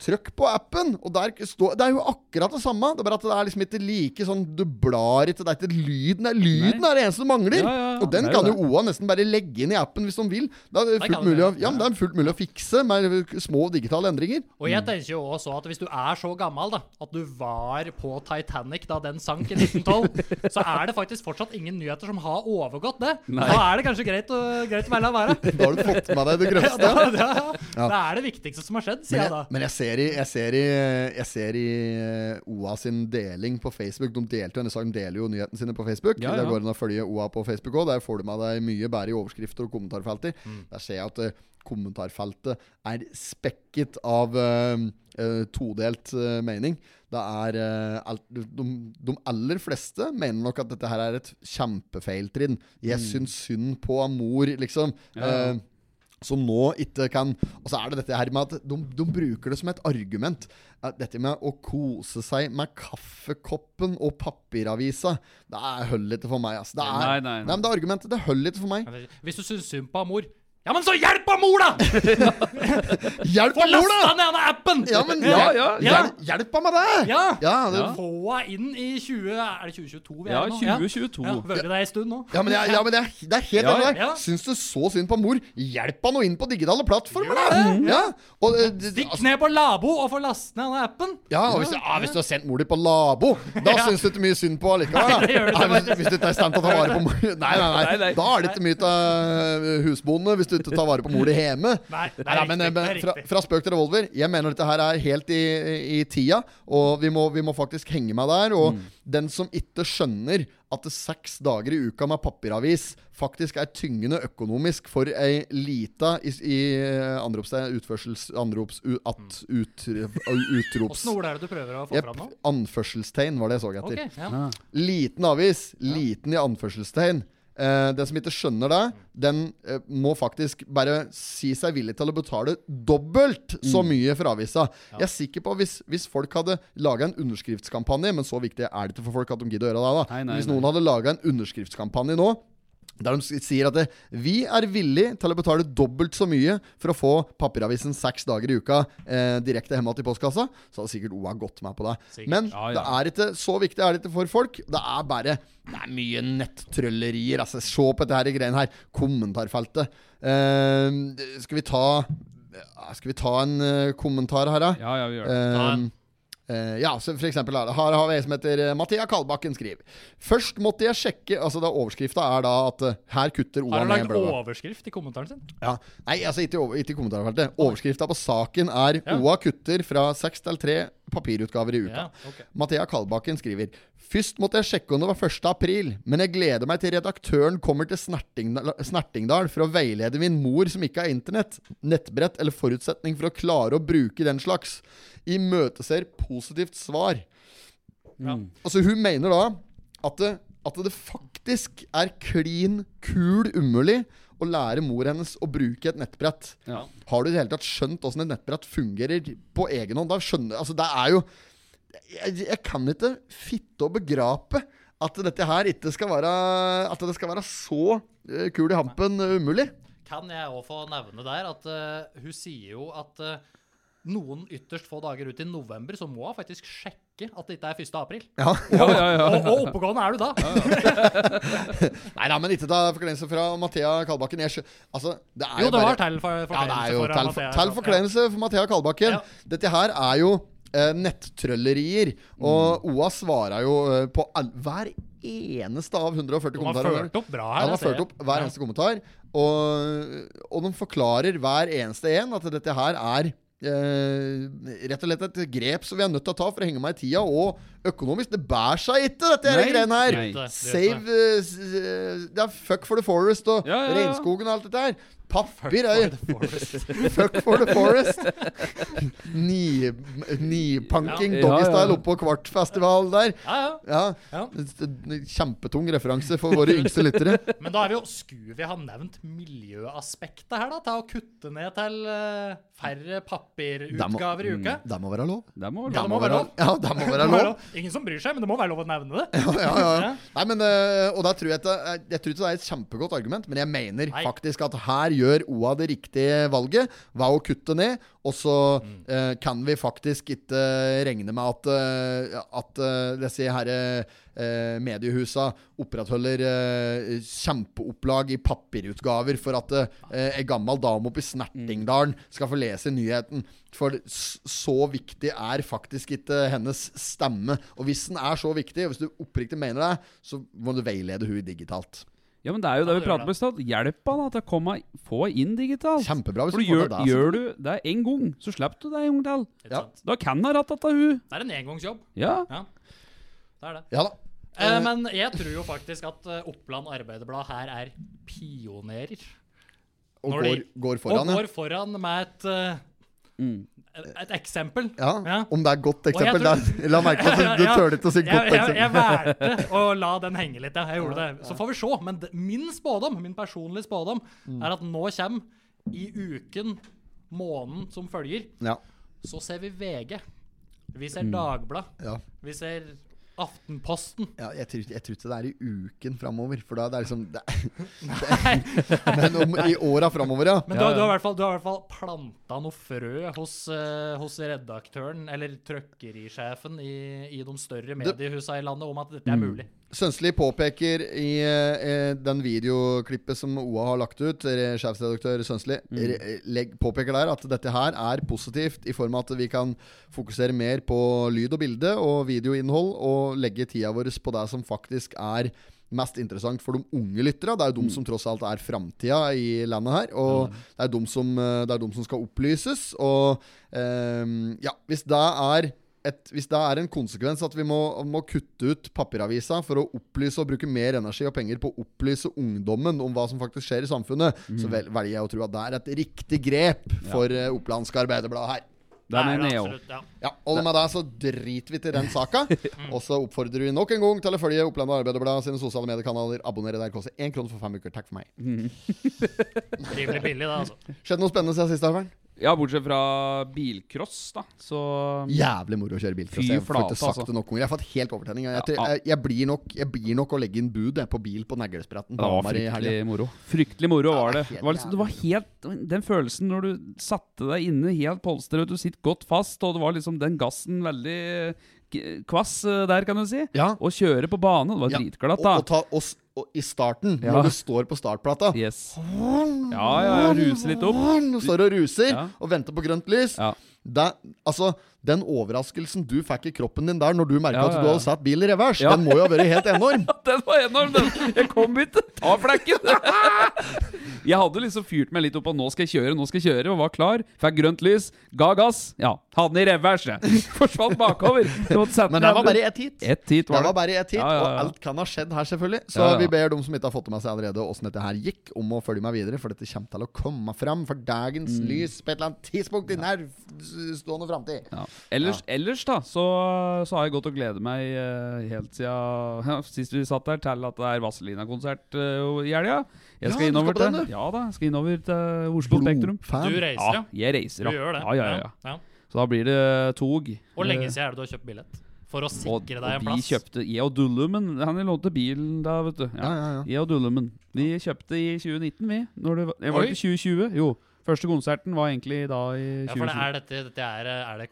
S3: Trykk på appen, og der står Det er jo akkurat det samme. Det er bare at det er liksom ikke like sånn Du blar ikke, det er ikke lyden. Det er lyden
S4: Nei.
S3: er det eneste som mangler.
S4: Ja, ja, ja.
S3: Og den
S4: Det er
S3: kan
S4: jo
S3: jo OA nesten bare legge inn i appen hvis de vil. Det er
S1: Nei,
S3: fullt
S1: kan
S3: mulig å,
S1: det.
S3: ja, men det er fullt mulig å fikse med små digitale endringer.
S1: Og jeg tenker jo også at hvis du er så gammel da, at du var på Titanic da den sank i
S3: *laughs*
S1: 1912, så er det faktisk fortsatt ingen nyheter som har overgått det.
S4: Nei.
S1: Da er det kanskje greit å, greit å bare la være.
S3: Da har du fått med deg det
S1: *laughs* Ja, da,
S3: grøvste.
S1: da, Det er det viktigste som har skjedd, sier
S3: Men
S1: jeg
S3: jeg,
S1: da.
S3: men jeg ser i, jeg ser i, jeg ser i eh, OA sin deling på Facebook. De delte jo denne saken, de deler jo nyhetene sine på Facebook.
S4: Ja,
S3: Det
S4: ja.
S3: går an å følge OA på Facebook òg. Der får du med deg mye bedre i overskrifter og kommentarfelter.
S4: Mm.
S3: Der ser jeg at eh, kommentarfeltet er spekket av eh, eh, todelt eh, mening. Det er eh, alt, de, de aller fleste mener nok at dette her er et kjempefeiltrinn. Jeg syns synd på mor, liksom.
S4: Mm. ja.
S3: Eh, som nå ikke kan Og så er det dette her med at de, de bruker det som et argument. Eh, Dette med å kose seg med kaffekoppen og papiravisa, det er holder ikke for meg. Altså. Det er,
S4: Nei, nei, nei.
S3: men det er argumentet. Det holder ikke for meg.
S1: Hvis du syns synd på mor, ja, men så hjelp av
S3: *laughs*
S1: mor, da!
S3: Hjelp
S1: Få
S3: meg, mor,
S1: lasta
S3: da!
S1: ned denne appen!
S3: Ja, men
S4: Ja,
S3: hjelp,
S4: ja.
S1: Ja.
S3: hjelp, hjelp meg med det!
S1: Ja!
S3: det,
S4: Ja.
S1: Få henne inn i 20... Er det 2022 vi er
S4: Ja,
S1: i nå?
S4: 2022.
S1: Ja, Vært der en stund nå.
S3: Ja, men, jeg, ja, men det, er- det er helt
S4: Ja,
S3: enig med deg.
S1: ja.
S3: Syns du så synd på mor? Hjelp han nå inn på digitale plattformer, da! Ja, og, eh, det-
S1: Stikk ned på labo og få laste ned denne appen.
S3: Ja, og hvis, ah, hvis du har sendt mor di på labo, da syns du ikke mye synd på allikevel.
S1: Nei, det gjør
S3: da.
S1: det
S3: Nei, hvis, hvis du ikke er i stand til å ta vare på mor *laughs* Nei, nei, nei.
S4: Nei, nei.
S3: Da er det ikke mye av eh, husbondene hvis du ikke tar vare på mor di hjemme.
S1: Nei, det er
S3: Nei, men,
S1: riktig,
S3: eh, men
S1: det er
S3: fra,
S1: riktig.
S3: fra spøk til revolver. Jeg mener dette her er helt i, i tida, og vi må, vi må faktisk henge meg der. Og den som ikke skjønner at seks dager i uka med papiravis faktisk er tyngende økonomisk for ei lita i, i eh, anropstegn Utførsels... Anrops... U, at, ut, eh, utrops...
S1: Åssen ord er det du prøver å få
S3: Jepp.
S1: fram nå?
S3: Anførselstegn var det jeg så etter.
S1: Ok, ja.
S3: Liten avis. Liten i anførselstegn. Eh, den som ikke skjønner det, den eh, må faktisk bare si seg villig til å betale dobbelt så
S4: Mm.
S3: mye for avisa. Jeg er sikker på hvis, hvis folk hadde laga en underskriftskampanje, men så viktig er det ikke for folk at de gidder å gjøre det, da.
S4: Nei, nei,
S3: hvis
S4: nei.
S3: noen hadde laga en underskriftskampanje nå der de s- sier at det, vi er villig til å betale dobbelt så mye for å få papiravisen seks dager i uka eh, direkte hjemme til postkassa, så hadde sikkert OA gått med på det.
S1: Sikkert.
S3: Men
S4: Ja, ja.
S3: det er ikke så viktig er det ikke for folk. Det er bare Det er mye nettrøllerier. Altså, se på dette her greiene her. Kommentarfeltet. Eh, skal vi ta Skal vi ta en eh, kommentar her, da?
S4: Ja, ja, vi gjør det.
S3: Ehm, eh, ja, så for eksempel er det- her har vi en som heter eh, Mattia Kalbakken skriver Først måtte jeg sjekke Altså da overskrifta er da at eh, her kutter Ola
S1: Har han
S3: ned en
S1: lagd
S3: blødvei.
S1: overskrift i kommentaren sin?
S3: Ja. Nei, altså ikke, i over- ikke i kommentarfeltet. Overskrifta på saken er OA kutter fra seks til tre papirutgaver i uka.
S1: Ja, ok.
S3: Mathea Kalbakken skriver Først måtte jeg sjekke om det var 1. april, men jeg gleder meg til redaktøren kommer til Snertingdal, Snertingdal for å veilede min mor som ikke har internett, nettbrett eller forutsetning for å klare å bruke den slags. Imøteser positivt svar.
S1: Ja.
S3: Altså, hun mener da at det, at det faktisk er klin kul umulig å lære mor hennes å bruke et nettbrett.
S4: Ja.
S3: Har du i det hele tatt skjønt åssen et nettbrett fungerer på egen hånd? Da skjønner Altså, det er jo Jeg, jeg kan ikke fitte og begrape at dette her ikke skal være At det skal være så eh, kul i hampen eh, umulig.
S1: Kan jeg òg få nevne der at eh, hun sier jo at eh, noen ytterst få dager ut i november, så må hun faktisk sjekke at det ikke er 1. april.
S3: Ja.
S4: Ja, ja, ja.
S1: Og, og oppegående er du da!
S3: Nei da, men ikke ta forkleinelse fra Mathea Kalbakken. Jeg skjø... Altså, det er
S1: Jo,
S3: jo
S1: det
S3: bare
S1: var til for,
S3: Ja, det er jo
S1: forkleinelse
S3: tell,
S1: for Mathea.
S3: tell forkleinelse for Mathea Kalbakken.
S1: Ja.
S3: Dette her er jo eh, nettrøllerier, og
S1: Mm.
S3: OA svarer jo eh, på all, hver eneste av 140
S1: De har
S3: kommentarer.
S1: ført opp bra
S3: Ja,
S1: her.
S3: de har
S1: det ser
S3: ført
S1: jeg.
S3: opp hver
S1: Ja.
S3: eneste kommentar, og, og de forklarer hver eneste en at dette her er eh, rett og slett et grep som vi er nødt til å ta for å henge meg i tida, og økonomisk. Det bærer seg ikke, dette her
S4: Nei,
S3: greiene her.
S4: nei.
S1: Det- det-
S3: Save eh, s- eh, Det er fuck for the forest og
S4: Ja, ja, ja.
S3: regnskogen og alt dette her. Papir
S1: for
S3: er
S1: the forest.
S3: fuck for *laughs* the forest. Ni- Nipanking,
S4: Ja. Ja,
S3: doggystyle
S4: ja.
S3: oppå kvartfestival der.
S1: Ja, ja.
S3: Ja.
S1: Ja.
S3: Kjempetung referanse for våre yngste lyttere.
S1: Men da er vi jo Skulle vi ha nevnt miljøaspektet her, da? Til å kutte ned til eh, færre
S3: Det må-
S1: papirutgaver i uka?
S3: Det må være lov.
S4: Det
S1: Ja,
S4: må vel
S1: det må være lov.
S3: *laughs* Ja, det må
S1: Det
S3: være
S1: må være
S3: lov.
S1: lov. Ingen som bryr seg, men det må være lov å nevne det.
S3: Ja, ja, ja.
S1: Ja.
S3: Nei, men, øh, og der tror jeg, at det, jeg tror ikke det er et kjempegodt argument, men jeg mener
S1: Nei.
S3: faktisk at her gjør OA det riktige valget ved å kutte ned, og så
S4: Mm.
S3: øh, kan vi faktisk ikke eh, regne med at, øh, at øh, disse her øh, mediehusa opprettholder øh, kjempeopplag i papirutgaver for at øh, en gammel dame oppe i
S4: Mm.
S3: Snertingdalen skal få lese nyheten. For s- så viktig er faktisk ikke hennes stemme. Og hvis den er så viktig, og hvis du oppriktig mener det, så må du veilede hun digitalt.
S4: Ja, men det er jo det
S1: Ja,
S4: vi
S1: det gjør
S4: prater om i stad. Hjelp han da, til å komme, få inn digitalt.
S3: Kjempebra hvis
S4: For
S3: du
S4: du
S3: får
S4: gjør,
S3: til det. altså.
S4: gjør du det én gang, så slipper du det en gang til.
S1: Ikke sant?
S4: Da kan jeg ratta til hun.
S1: Det er en engangsjobb.
S4: Ja.
S1: Det er det.
S3: Ja da.
S1: Eh, men jeg tror jo faktisk at eh, Oppland Arbeiderblad her er pionerer.
S3: Og
S1: Når
S3: går,
S1: de-
S3: går foran,
S1: og
S3: ja. Mm.
S1: går foran med et eh, et- Et eksempel.
S3: ja.
S1: Ja.
S3: Om det er et godt eksempel
S1: tror-
S3: der. La merke til at du,
S1: *laughs*
S3: du
S1: Ja,
S3: tør ikke å si
S1: jeg,
S3: godt
S1: jeg, jeg
S3: eksempel. *laughs*
S1: valgte å la den henge litt. ja. Jeg gjorde det. Så får vi se. Men d- min spådom, min personlige spådom
S3: Mm.
S1: er at nå kommer i uken, måneden som følger,
S3: Ja.
S1: så ser vi VG. Vi
S3: Mm.
S1: ser Dagblad.
S3: Ja.
S1: Vi ser Aftenposten.
S3: Ja, jeg, tror, jeg tror ikke det er i uken framover, for da det er liksom det
S1: *laughs* Nei,
S3: *laughs* Men om, i åra framover, ja.
S1: Men du,
S4: Ja,
S1: har- du, har
S4: ja.
S1: i hvert fall, du har i hvert fall planta noe frø hos, eh, hos redaktøren, eller trøkkerisjefen i, i de større mediehusa i landet, om at dette er
S4: Mm.
S1: mulig.
S3: Sønsli påpeker i eh, den videoklippet som OA har lagt ut, re- sjefsredaktør Sønsli,
S1: Mm.
S3: re- legg- påpeker der at dette her er positivt i form av at vi kan fokusere mer på lyd og bilde og videoinnhold, og legge tida vår på det som faktisk er mest interessant for de unge lytterne. Det er jo de som tross alt er framtida i landet her, og det er de som, eh, det er de som skal opplyses. Og eh, ja, hvis det er et, hvis det er en konsekvens at vi må, må kutte ut papiravisa for å opplyse og bruke mer energi og penger på å opplyse ungdommen om hva som faktisk skjer i samfunnet, så vel, velger jeg å tro at det er et riktig grep for ja. Opplandske Arbeiderblad her.
S4: Det
S1: er
S4: mener jeg òg.
S1: absolutt, ja.
S3: Ja, og med det så driter vi til den
S4: *laughs*
S3: saka. Og så oppfordrer vi nok en gang til å følge Oppland Arbeiderblad sine sosiale mediekanaler. Abonner i der koster én krone for fem uker. Takk for meg.
S4: Mm.
S1: Rimelig billig, det, altså.
S3: Skjedde noe spennende siden sist, Arvern?
S4: Ja, bortsett fra bilcross, da. Så
S3: Jævlig moro å kjøre bil.
S4: Fy
S3: Jeg får
S4: flate,
S3: ikke sagt
S4: altså.
S3: det nok ganger. Jeg har fått helt overtenning. Jeg,
S4: Ja.
S3: tror- jeg, jeg, blir nok, jeg blir nok å legge inn bud jeg, på bil på Neglespretten.
S4: Det
S3: på
S4: var
S3: Hamar i
S4: fryktelig
S3: helgen.
S4: moro. Fryktelig moro
S3: Ja,
S4: var
S3: det er
S4: det.
S3: helt
S4: Det var, liksom, det var helt Den følelsen når du satte deg inne helt polstret, du sitter godt fast, og det var liksom den gassen veldig eh, kvass eh, der, kan du si.
S3: Ja.
S4: Å kjøre på bane, det var
S3: Ja,
S4: dritglatt,
S3: Og, og
S4: da.
S3: ta oss og, i starten,
S4: Ja.
S3: når du står på startplata.
S4: Yes. *laughs* Ja, ja, ruse litt opp.
S3: Du står og ruser
S4: Ja.
S3: og venter på grønt lys.
S4: Ja.
S3: Det, altså, Den overraskelsen du fikk i kroppen din der når du merka
S4: Ja,
S3: at
S4: ja,
S3: du
S4: ja.
S3: hadde satt bil i revers,
S4: Ja.
S3: den må jo ha vært helt
S4: *laughs*
S3: enorm.
S4: Den var enorm, den. Jeg kom ikke til å ta flekken. *laughs* Jeg hadde liksom fyrt meg litt opp på nå skal jeg kjøre, nå skal jeg kjøre, og var klar. Fikk grønt lys, ga gass. Ja, hadde den i revers, jeg. *laughs* Forsvant bakover. Jeg måtte sette
S3: Men det
S4: meg-
S3: var bare i ett hit.
S4: ett hit.
S3: Det
S4: Var
S3: var
S4: det.
S3: bare i ett hit,
S4: Ja, ja, ja.
S3: og alt kan ha skjedd her, selvfølgelig. Så
S4: Ja, ja.
S3: vi ber dem som ikke har fått med seg allerede åssen dette her gikk, om å følge meg videre, for dette kommer til å komme fram for dagens
S4: Mm.
S3: lys på et eller annet tidspunkt i nær stående framtid.
S4: Ja. Ellers, ellers da, så, så har jeg gått og gledet meg eh, helt siden *laughs* ja, sist vi satt der, til at det er Vazelina-konsert eh, i helga.
S3: Ja,
S4: Jeg skal
S3: du
S4: innover
S3: skal på den,
S4: til
S3: du.
S4: Ja da, jeg skal innover til Oslo Spektrum.
S1: Du
S3: Blodfan.
S1: reiser,
S4: Ja,
S1: ja.
S4: jeg reiser,
S1: Du gjør det.
S4: Ja, ja, ja, ja.
S1: Ja.
S4: Så da blir det tog.
S1: Hvor
S4: Eh,
S1: lenge siden er det du har kjøpt billett? For å
S4: og,
S1: sikre deg
S4: og
S1: en
S4: vi
S1: plass.
S4: kjøpte Jeg og Dullumen Han lånte bilen da, vet du.
S3: Ja, ja, ja.
S4: Jeg og Dullumen. Vi kjøpte i 2019, vi. Når det var, jeg
S1: Oi.
S4: var ikke 2020. Jo. Første konserten var egentlig da i
S1: Ja,
S4: 2020.
S1: for det er, dette, dette er, er det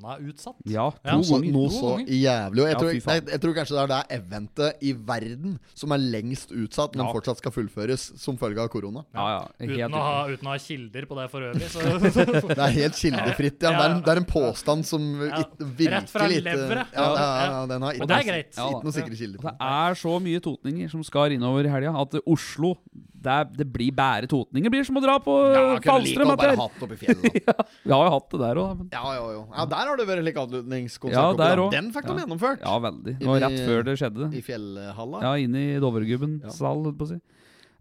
S1: koronautsatt?
S4: Ja,
S1: Ja,
S4: to
S3: Så,
S4: ganger.
S3: noe
S1: To
S3: så
S1: ganger.
S3: jævlig. Og jeg,
S4: Ja,
S3: tror,
S4: fy
S3: nei,
S4: faen.
S3: jeg tror kanskje det er det eventet i verden som er lengst utsatt, men
S4: Ja.
S3: fortsatt skal fullføres som følge av korona.
S4: Ja, ja. Helt
S1: Uten å, ha, uten å ha kilder på det for øvrig. Så,
S4: *laughs*
S3: Det er helt kildefritt. Ja. Det, er en, det er en påstand som
S1: Ja.
S3: it, virkelig
S1: Rett fra
S3: ikke-
S1: leveret.
S3: Ja, ja, ja, ja,
S1: Ja.
S3: den har
S1: men det er greit.
S4: Ja, da.
S3: Ikke noen sikre kilder.
S4: Det
S3: på.
S4: er så mye totninger som skar innover i helga, at Oslo det, er, det blir bare totninger. Det blir som å dra på
S3: Ja, kunne like
S4: Falstrøm.
S3: å bare
S4: etter.
S3: hatt oppi fjellet. *laughs* da.
S4: Vi har jo hatt det der òg, da. men-
S3: Ja, jo, jo. ja, der har det vært like avslutningskonsert.
S4: Ja, der
S3: oppe,
S4: også.
S3: da. Den fikk de
S4: Ja.
S3: gjennomført.
S4: Ja, veldig. Det var rett før det skjedde.
S3: I fjellhalla.
S4: Ja, inn i Dovregubbens sal, holdt på å si.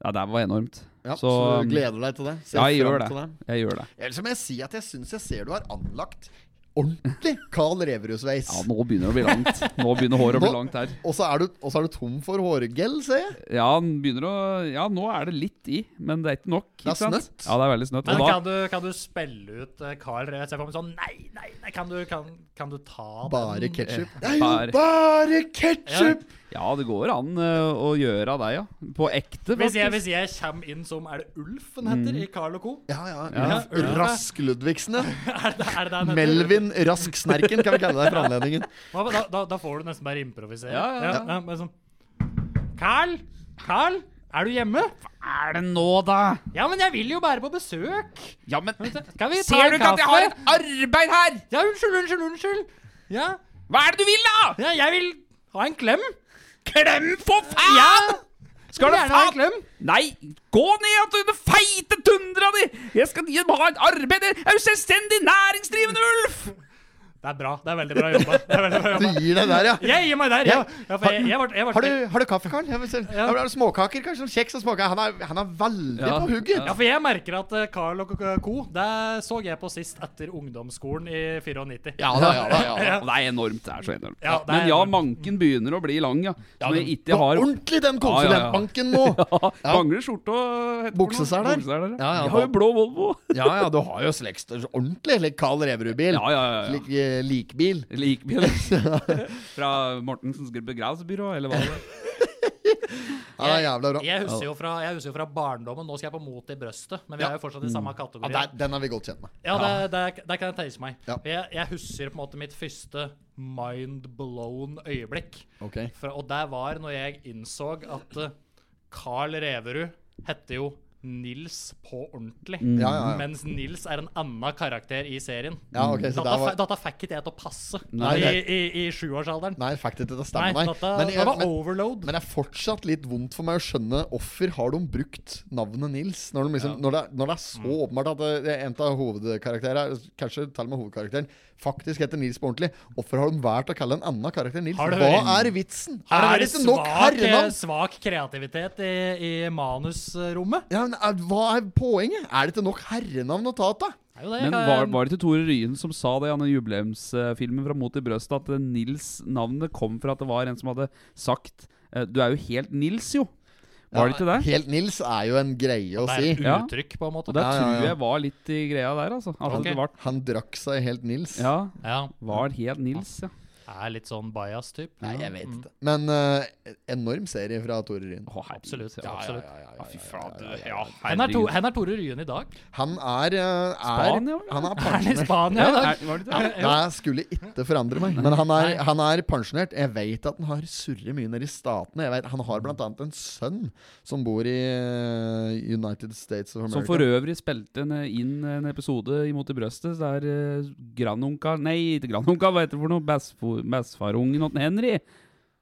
S4: Ja, det var enormt.
S3: Ja, så,
S4: så, um,
S3: du gleder deg til det? Ser
S4: Ja, jeg
S3: fram
S4: gjør det.
S3: til
S4: Jeg gjør det.
S3: Ellers må jeg si at jeg syns jeg ser du har anlagt ordentlig Carl Reverud-sveis.
S4: Ja, nå begynner det å bli langt. *laughs* Nå begynner håret å bli
S3: Nå-
S4: langt her.
S3: og så er, du- og så er du tom for hårgel, ser jeg.
S4: Ja, den begynner å Ja, nå er det litt i, men det er ikke nok.
S3: er
S4: Ikke sant?
S3: snøtt.
S4: Ja, det er veldig snøtt.
S1: Men
S4: Og da,
S1: kan du, kan du spille ut eh, Carl Jeg ser for meg sånn Nei, nei, nei! Kan du, kan, kan du ta
S3: Bare
S1: den?
S3: ketsjup. Det er jo
S4: Bare-
S3: bare ketsjup!
S4: ja, det går an eh, å gjøre av deg, ja. På ekte,
S1: Hvis jeg, hvis
S4: faktisk.
S1: jeg kommer inn som Er det Ulf han
S4: Mm.
S1: heter i Carl Co? *laughs*
S3: Ja, ja.
S1: Ja.
S3: Ulf Rask Ludvigsen, ja.
S1: Er det, er det han heter?
S3: Melvin Rask Snerken, kan vi kalle deg for anledningen.
S1: Hva- Da, da, da får du nesten bare improvisere.
S4: Ja, ja, ja.
S1: men sånn. Carl! Carl! Er du hjemme?
S4: Hva er det nå, da?
S1: Ja, men jeg vil jo bare på besøk.
S4: Ja, men
S1: Skal vi ta
S4: Ser du
S1: en
S4: ikke at
S1: kaffe?
S4: jeg har et arbeid her?
S1: Ja, unnskyld, unnskyld, unnskyld. Ja,
S4: Hva er det du vil, da?
S1: ja jeg vil ha en klem.
S4: Klem, for faen! Skal du
S1: Gjerne ha en
S4: faen
S1: klem.
S4: Nei, gå ned at du- den feite tundra di! Jeg skal gi- ha et arbeid! Jeg er jo selvstendig næringsdrivende, Ulf!
S1: Det er bra. Det er veldig bra jobba. Det er veldig bra
S3: Du
S1: jobba.
S3: gir deg der, ja.
S1: Jeg gir meg der. Ja, ja for jeg, jeg, ble, jeg ble,
S3: Har du, har du kaffe, Karl? Jeg vil se.
S1: Ja.
S3: Har du småkaker, kanskje? Sånn Kjeks og småkaker. Han er, han er veldig
S4: Ja.
S3: på hugget.
S1: Ja, for jeg merker at eh, Carl og co. Det så jeg på sist etter ungdomsskolen i 94.
S3: Ja da, ja da. ja da.
S4: Og det er enormt. Det er så enormt.
S1: Ja, det er
S4: Men ja,
S1: enormt.
S4: manken begynner å bli lang, ja. Som jeg ikke
S3: På
S4: har
S3: ordentlig den
S4: Ja, ja, ja.
S3: konsulentbanken nå!
S4: *laughs* ja. Mangler skjorte og heter for noe?
S3: Bukseseler.
S4: Bukseseler, ja.
S3: Ja, ja,
S4: jeg har
S3: da-
S4: jo blå Volvo.
S3: *laughs* Ja ja, du har jo slekst ordentlig like Carl Reverud-bil.
S4: ja, ja, ja. ja.
S3: Lik, eh, likbil.
S4: Likbil.
S3: *laughs*
S4: Fra Mortensens begravelsesbyrå, eller hva det var.
S3: Ja, det er jævla bra.
S1: Jeg husker, jo fra, jeg husker jo fra barndommen. Nå skal jeg på Mot i brøstet, men vi
S3: Ja.
S1: er jo fortsatt i samme
S3: Ja,
S1: kategori.
S3: der, den er vi godt kjent med.
S1: Ja, det, det, det kan jeg tenke meg.
S3: Ja.
S1: Jeg, jeg husker på en måte mitt første mind-blown øyeblikk.
S3: Ok
S1: Fra, og det var når jeg innså at eh, Carl Reverud hette jo Nils på ordentlig.
S3: Mm. Ja, ja, ja.
S1: Mens Nils er en annen karakter i serien.
S3: Ja, ok, så
S1: Dette
S3: der var
S1: fe- dette fikk ikke jeg til å passe
S3: Nei,
S1: i,
S3: det-
S1: i, i sjuårsalderen.
S3: Nei, fikk det til å
S1: Nei,
S3: stemme, nei.
S1: dette,
S3: Men,
S1: det
S3: jeg,
S1: var
S3: men,
S1: overload.
S3: men det er fortsatt litt vondt for meg å skjønne hvorfor har de brukt navnet Nils. Når, de liksom, når, det, er- når det er
S1: Mm.
S3: så åpenbart at det- det er en av hovedkarakterene, kanskje til og med hovedkarakteren, faktisk heter Nils på ordentlig, hvorfor har de valgt å kalle en annen karakter Nils?
S1: Har det
S3: Hva
S1: vært-
S3: er vitsen?
S1: Har
S3: Er
S1: det vært
S3: det ikke nok
S1: svak, eh,
S3: herrenavn?
S1: svak kreativitet i, i manusrommet?
S3: Ja, men, er, hva er poenget? Er det ikke nok herrenavn å ta av?
S1: Det er jo det.
S4: Men
S1: jeg
S4: var,
S1: kan-
S4: var det ikke Tore Ryen som sa det i denne jubileumsfilmen fra Mot i brøstet, at eh, Nils-navnet kom fra at det var en som hadde sagt eh, Du er jo helt Nils, jo. Var det ikke det?
S3: Helt Nils er jo en greie å
S1: det
S3: si.
S1: er
S4: Ja.
S1: uttrykk, på en måte.
S4: Og det
S3: Ja, ja, ja.
S4: tror jeg var litt i greia der, altså. At
S1: Ok.
S4: det var,
S3: Han drakk seg helt Nils.
S4: ja,
S1: Ja.
S4: var helt Nils, ja.
S1: Er litt sånn bias typ
S3: Nei, jeg
S1: Mm.
S3: vet ikke. Men eh, enorm serie fra Tore Ryen.
S4: Å, herregud,
S1: Absolutt.
S4: ja.
S1: absolutt.
S4: Fy flate. Ja,
S1: Hen er, to,
S4: herregud.
S1: hen er Tore Ryen i
S3: *laughs*
S1: dag.
S3: Han er, eh, er
S4: Spania, vel?
S3: Han er
S1: Er han i
S3: pensjonert.
S1: Spania i dag?
S4: Er- var det ikke det?
S3: Nei, jeg skulle ikke forandre meg. Men han er, han er pensjonert. Jeg vet at han har surret mye nede i statene. Jeg vet, han har blant annet en sønn som bor i eh, United States of
S4: Som
S3: America.
S4: for øvrig spilte en, eh, inn en episode imot i brøstet der eh, grandonka Nei, ikke grandonka, hva heter det for noe? Bestfo- Bestfarungen til Henry.